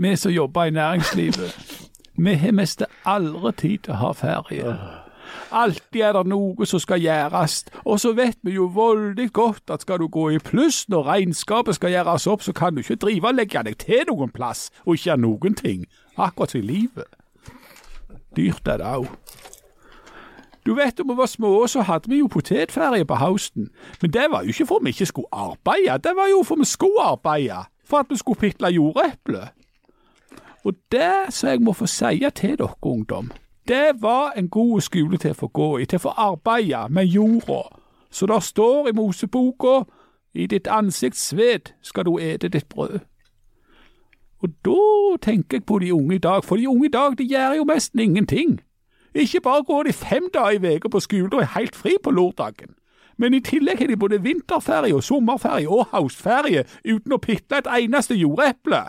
Speaker 5: Vi som jobber i næringslivet, vi har mest aldri tid til å ha ferie. Alltid er det noe som skal gjøres, og så vet vi jo veldig godt at skal du gå i pluss når regnskapet skal gjøres opp, så kan du ikke drive og legge deg til noen plass og ikke gjøre noen ting. Akkurat som i livet. Dyrt er det òg. Du vet da vi var små, så hadde vi jo potetferie på høsten. Men det var jo ikke for vi ikke skulle arbeide, det var jo for vi skulle arbeide. For at vi skulle pitle jordepler. Og det som jeg må få si til dere, ungdom, det var en god skole til å få gå i, til å få arbeide med jorda. Så det står i Moseboka, i ditt ansikts sved skal du ete ditt brød. Og da tenker jeg på de unge i dag, for de unge i dag de gjør jo nesten ingenting. Ikke bare går de fem dager i veka på skolen og er helt fri på lørdagen. Men i tillegg har de både vinterferie og sommerferie og houseferie uten å pitte et eneste jordeple.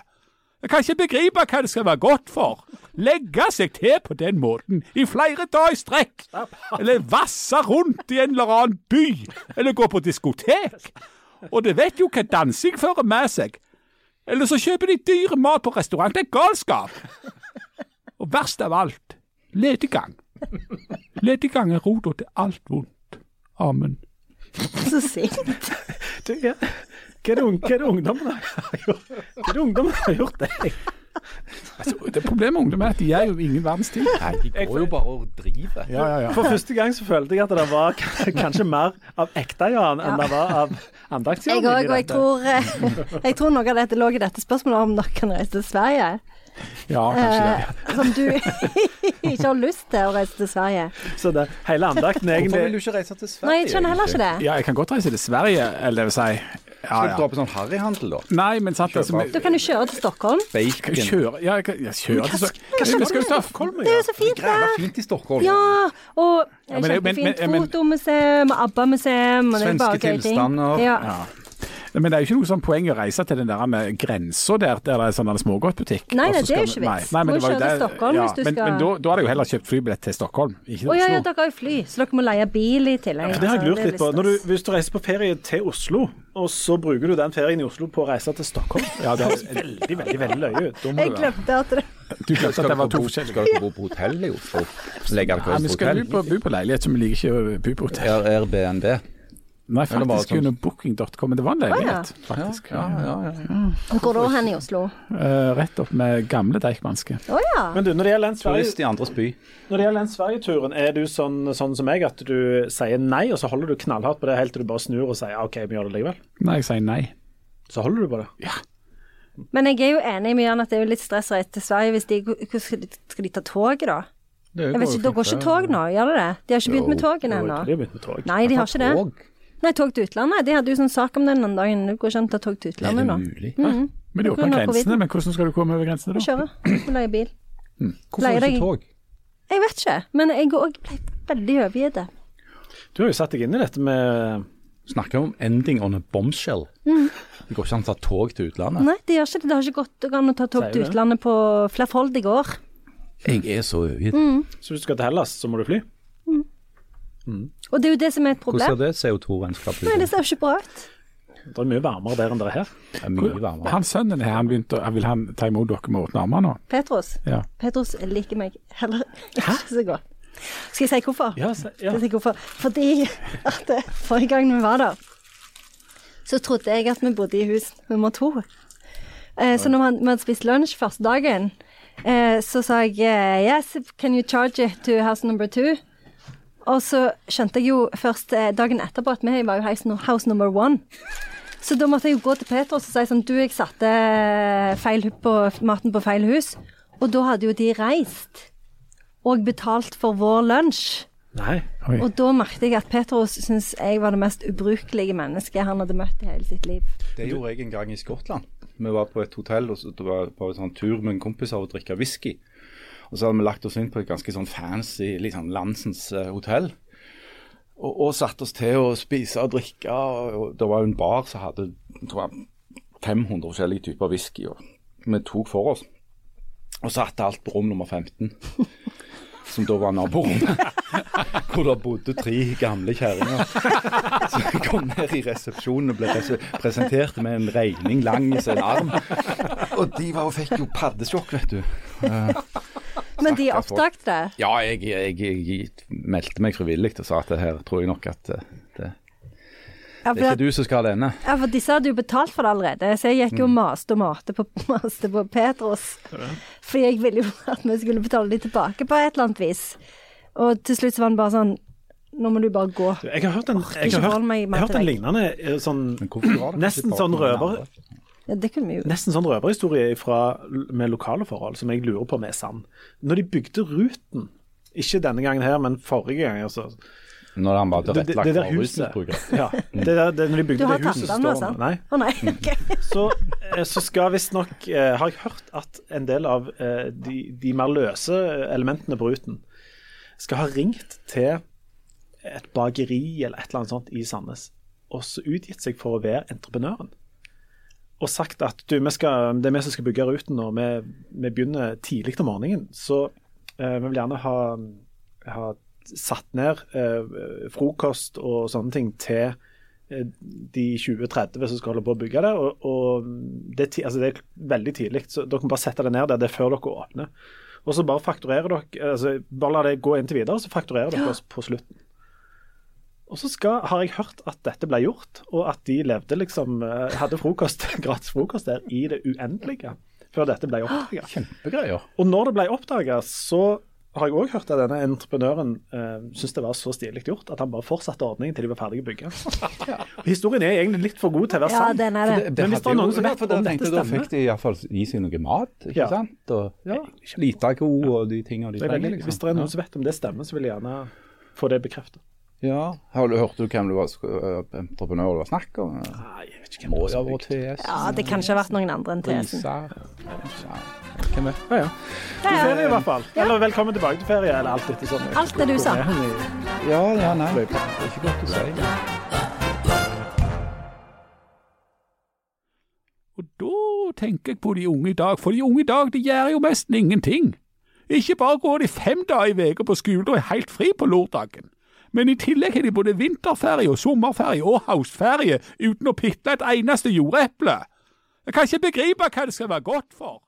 Speaker 5: Jeg kan ikke begripe hva det skal være godt for. Legge seg til på den måten i flere dager i strekk. Eller vasse rundt i en eller annen by. Eller gå på diskotek. Og det vet jo hva dansing fører med seg. Eller så kjøper de dyr mat på restaurant. Det er galskap. Og verst av alt, lediggang. Lediggang er rota til alt vondt. Amen.
Speaker 3: Så sint.
Speaker 4: Du, Hva hva er det, ung- hva er det ungdommen har gjort? Hva er det ungdommen har gjort deg?
Speaker 5: Altså, det Problemet med ungdom er at de er jo ingen verdens ting.
Speaker 1: Nei, de går jo bare og driver.
Speaker 5: Ja, ja, ja.
Speaker 4: For første gang så følte jeg at det var k- kanskje mer av ekte Jan enn det var av
Speaker 3: Jeg
Speaker 4: andaktsjan.
Speaker 3: òg, og jeg tror, eh, jeg tror noe av dette lå i dette spørsmålet om dere kan reise til Sverige.
Speaker 5: ja kanskje det.
Speaker 3: Eh, som du ikke har lyst til å reise til Sverige.
Speaker 4: Så det, hele andakten er
Speaker 1: Hvorfor vil du
Speaker 4: egentlig
Speaker 1: ikke reise til Sverige?
Speaker 3: Nei, jeg skjønner heller ikke det.
Speaker 5: Ja, jeg kan godt reise til Sverige, eller det vil si ja,
Speaker 1: Skal du
Speaker 5: ja.
Speaker 1: dra på sånn harryhandel, da?
Speaker 5: Nei, men sant altså,
Speaker 3: Da
Speaker 5: vi-
Speaker 3: kan du kjøre til Stockholm.
Speaker 5: kan
Speaker 1: Bacon.
Speaker 5: jo kjøre Ja, jeg kan jeg kjører til Sverige. Vi skal jo ta
Speaker 3: Det er jo så fint
Speaker 1: Græla
Speaker 3: der.
Speaker 1: fint i Stockholm.
Speaker 3: Ja, og eh,
Speaker 5: Ja, men det er jo- men-
Speaker 3: kjempefint
Speaker 5: men- men-
Speaker 3: fotomuseum, og ABBA-museum og det er bare
Speaker 1: Svenske
Speaker 3: gøy ting.
Speaker 1: tilstander.
Speaker 3: Ja.
Speaker 5: Men det er jo ikke noe sånn poeng å reise til den der med grensa der, der det er sånn en smågodtbutikk.
Speaker 3: Nei,
Speaker 5: og
Speaker 3: nei,
Speaker 5: så
Speaker 3: det er
Speaker 5: skal
Speaker 3: jo ikke
Speaker 5: vi-
Speaker 3: vits.
Speaker 5: Nei, nei, men
Speaker 3: Må
Speaker 5: det var
Speaker 3: kjøre
Speaker 5: jo
Speaker 3: til
Speaker 5: der-
Speaker 3: Stockholm hvis du
Speaker 5: men,
Speaker 3: skal-
Speaker 5: Men da, da har jeg jo heller kjøpt flybillett til Stockholm, ikke til
Speaker 3: Å ja, ja,
Speaker 5: Oslo.
Speaker 3: dere har jo fly, så dere må leie bil i tillegg.
Speaker 4: For det har
Speaker 3: så
Speaker 4: jeg lurt
Speaker 3: er
Speaker 4: litt på.
Speaker 3: litt
Speaker 4: Når du,
Speaker 3: stress.
Speaker 4: hvis du reiser på ferie til Oslo, og så bruker du den ferien i Oslo på å reise til Stockholm
Speaker 5: Ja, det
Speaker 4: Det
Speaker 5: har-
Speaker 4: høres veldig, veldig veldig løye ut.
Speaker 3: Jeg glemte at det
Speaker 5: Du glemte
Speaker 1: Skal du
Speaker 5: at det var
Speaker 1: få
Speaker 5: to
Speaker 1: bo-
Speaker 5: forskjellige.
Speaker 1: skal du få bo på hotell i Oslo? Legge deg
Speaker 5: Nei, vi
Speaker 1: på
Speaker 5: skal
Speaker 1: hotell?
Speaker 5: bo på, bo på leilighet, så vi liker ikke å bo på hotell.
Speaker 1: Er- Airbnb.
Speaker 5: Nei,
Speaker 1: Eller bare
Speaker 5: faktisk
Speaker 1: sånn-
Speaker 5: under booking.com, men det var en leilighet, faktisk.
Speaker 1: Ja, ja, ja.
Speaker 3: Går da hen i Oslo?
Speaker 5: Eh, rett opp med gamle Deichmanske.
Speaker 3: Å ja.
Speaker 4: Men du, når det gjelder den Sverige-
Speaker 1: Turist i andres by.
Speaker 4: når det gjelder den Sverige-turen, er du sånn, sånn som meg at du sier nei, og så holder du knallhardt på det helt til du bare snur og sier OK, vi gjør det likevel?
Speaker 5: Nei, jeg sier nei.
Speaker 4: Så holder du på det.
Speaker 3: Men jeg er jo enig med Jan at det er jo litt stress å reise til Sverige hvis de Hvordan skal de, skal de ta toget, da? Jeg vet ikke, Da går ikke tog nå, gjør det det? De har ikke begynt med togene
Speaker 4: Oi,
Speaker 3: ennå.
Speaker 4: de har begynt med tog.
Speaker 3: Nei, de har ikke det. Nei, tog til utlandet. De hadde jo sånn sak om den den dagen. Det går ikke an å ta tog til
Speaker 1: Er det
Speaker 3: utlandet nå.
Speaker 1: mulig?
Speaker 5: Mm. Men de
Speaker 3: Da
Speaker 5: åpner
Speaker 3: kan du ha på
Speaker 5: grensene,
Speaker 3: vidden.
Speaker 5: men hvordan skal du komme over grensene da?
Speaker 3: Kjøre. Leie bil.
Speaker 1: Hvorfor
Speaker 3: Leier
Speaker 1: ikke
Speaker 3: deg-
Speaker 1: tog?
Speaker 3: Jeg vet ikke, men jeg går òg veldig overgitt.
Speaker 4: Du har jo satt deg inn i dette med
Speaker 1: Snakker om ending on a bombshell.
Speaker 5: Mm.
Speaker 1: Det går ikke an å ta tog til utlandet.
Speaker 3: Nei, det gjør ikke det. Det har ikke gått an å ta tog
Speaker 4: Sier du
Speaker 3: til
Speaker 4: det?
Speaker 3: utlandet på flerfoldige år.
Speaker 5: Mm.
Speaker 1: Jeg er så overgitt.
Speaker 4: Så hvis du skal til Hellas, så må du fly?
Speaker 3: Og det er jo det som er et
Speaker 1: Hvordan
Speaker 3: problem.
Speaker 1: ser det CO2-regnskapet
Speaker 3: Nei, det
Speaker 1: ut?
Speaker 3: ser jo ikke bra ut.
Speaker 4: Det er mye varmere der enn det er her.
Speaker 1: Det er mye varmere.
Speaker 5: Han sønnen her, han begynte, å- han vil han ta imot dere med åpne armer nå?
Speaker 3: Petros.
Speaker 5: Ja.
Speaker 3: Petros liker meg heller ikke så godt. Skal jeg si hvorfor?
Speaker 4: Ja, så, ja.
Speaker 3: Skal jeg si hvorfor? Fordi at eh, forrige gang vi var der, så trodde jeg at vi bodde i hus nummer to. Eh, Så når man- vi hadde spist lunsj første dagen, eh, så sa jeg eh, Yes, can you charge it to house number two? Og så skjønte jeg jo først eh, dagen etterpå at vi var jo house nu- house number one. Så da måtte jeg jo gå til Peter og så si sånn Du, jeg satte eh, feil hu- på, maten på feil hus. Og da hadde jo de reist og betalt for vår lunsj.
Speaker 4: Nei.
Speaker 5: Oi.
Speaker 3: Og da merket jeg at Petros syntes jeg var det mest ubrukelige mennesket han hadde møtt i hele sitt liv.
Speaker 1: Det gjorde jeg en gang i Skottland. Vi var på et hotell og så det var på en sånn tur med en kompis av å drikke whisky. Og så hadde vi lagt oss inn på et ganske sånn fancy liksom landsens eh, hotell. Og, og satt oss til å spise og drikke. Og, og det var jo en bar som hadde jeg tror jeg, 500 forskjellige typer whisky. Og vi tok for oss. Og satte alt på rom nummer 15, som da var naborommet. Hvor det bodde tre gamle kjerringer. Så jeg kom ned i resepsjonen og ble prese- presentert med en regning lang i sin arm. Og de var, og fikk jo paddesjokk, vet du.
Speaker 3: Men de
Speaker 1: Stakkars folk.
Speaker 3: oppdaget det.
Speaker 1: Ja, jeg, jeg, jeg, meldte meg frivillig og sa at det her tror jeg nok at eh, det,
Speaker 3: Ja,
Speaker 1: det er
Speaker 3: for,
Speaker 1: ikke du som skal ha denne.
Speaker 3: ja, for disse hadde jo betalt for det allerede, så jeg gikk jo og maste og maste på, maste på Petros. Fordi jeg ville jo at vi skulle betale de tilbake på et eller annet vis. Og til slutt så var han bare sånn Nå må du bare gå.
Speaker 4: Jeg har hørt en, jeg
Speaker 3: ikke
Speaker 4: har hørt,
Speaker 3: hold meg i
Speaker 4: jeg har hørt en
Speaker 3: matte,
Speaker 4: lignende eh, sånn
Speaker 1: Men hvorfor var det
Speaker 4: Nesten
Speaker 1: ikke bare
Speaker 4: sånn
Speaker 1: noen
Speaker 4: røver.
Speaker 1: andre?
Speaker 3: Ja, det kunne vi jo.
Speaker 4: Nesten sånn røverhistorie fra, med lokale forhold, som jeg lurer på om er sann. Når de bygde Ruten, ikke denne gangen her, men forrige gang altså,
Speaker 1: Når han var
Speaker 4: det, det,
Speaker 1: tilrettelagt
Speaker 4: det der
Speaker 1: for
Speaker 4: huset
Speaker 1: rusmisbrukere.
Speaker 4: ja, det der, det, Når de
Speaker 3: Du
Speaker 4: bygde
Speaker 3: har
Speaker 4: det
Speaker 3: tatt
Speaker 4: huset som
Speaker 3: den
Speaker 4: står
Speaker 3: altså? nå, sant?
Speaker 4: Nei.
Speaker 3: Å nei, ok.
Speaker 4: Så, eh, så skal visstnok eh, Har jeg hørt at en del av eh, de, de mer løse elementene på Ruten skal ha ringt til et bakeri eller et eller annet sånt i Sandnes, og så utgitt seg for å være entreprenøren. Og sagt at du, vi skal, det er vi som skal bygge ruten nå, vi, vi begynner tidlig om morgenen. Så eh, vi vil gjerne ha, ha satt ned eh, frokost og sånne ting til eh, de 20-30 som skal holde på å bygge det. Og, og det, er ti- altså det er veldig tidlig, så dere må bare sette det ned der. Det er før dere åpner. Og så bare fakturerer dere altså Bare la det gå inntil videre, så fakturerer dere oss på slutten. Og så skal, har jeg hørt at dette ble gjort, og at de levde liksom eh, Hadde frokost, gratis frokost der i det uendelige før dette ble oppdaga.
Speaker 5: Kjempegreier.
Speaker 4: Og når det ble oppdaga, så har jeg òg hørt at denne entreprenøren eh, syntes det var så stilig gjort at han bare fortsatte ordningen til de var ferdige å bygge. Og Historien er egentlig litt for god til å være
Speaker 3: Ja,
Speaker 4: sann.
Speaker 3: den er det.
Speaker 4: Men hvis det er noen som vet
Speaker 1: for da
Speaker 4: om
Speaker 1: tenkte
Speaker 4: dette
Speaker 1: jeg, Da fikk
Speaker 4: stemmer
Speaker 1: de iallfall gi seg noe mat, ikke
Speaker 4: Ja.
Speaker 1: sant? Og
Speaker 4: Ja.
Speaker 1: Litako og de tingene de
Speaker 4: det er
Speaker 1: trenger.
Speaker 4: veldig,
Speaker 1: liksom.
Speaker 4: Hvis det er noen som vet om det stemmer, så vil jeg gjerne få det bekreftet.
Speaker 1: Ja. Har du hørt du hvem du var sk- entreprenør det var snakk om?
Speaker 4: Nei, jeg vet ikke
Speaker 1: Må jo ha vært TS.
Speaker 3: Ja, det kan ikke ha vært noen andre enn TS-en.
Speaker 1: Prisar. Ja.
Speaker 5: Hvem vet?
Speaker 4: Ja, ja. God ferie i hvert fall. Eller velkommen tilbake til ferie, eller alt etter sånn.
Speaker 3: Alt det du sa.
Speaker 1: Ja, ja, nei. Det er ikke godt å si.
Speaker 5: Og da tenker jeg på de unge i dag, for de unge i dag de gjør jo nesten ingenting. Ikke bare går de fem dager i uka på skole og er helt fri på lørdagen, men i tillegg har de både vinterferie og sommerferie og houseferie uten å pitle et eneste jordeple. Jeg kan ikke begripe hva det skal være godt for.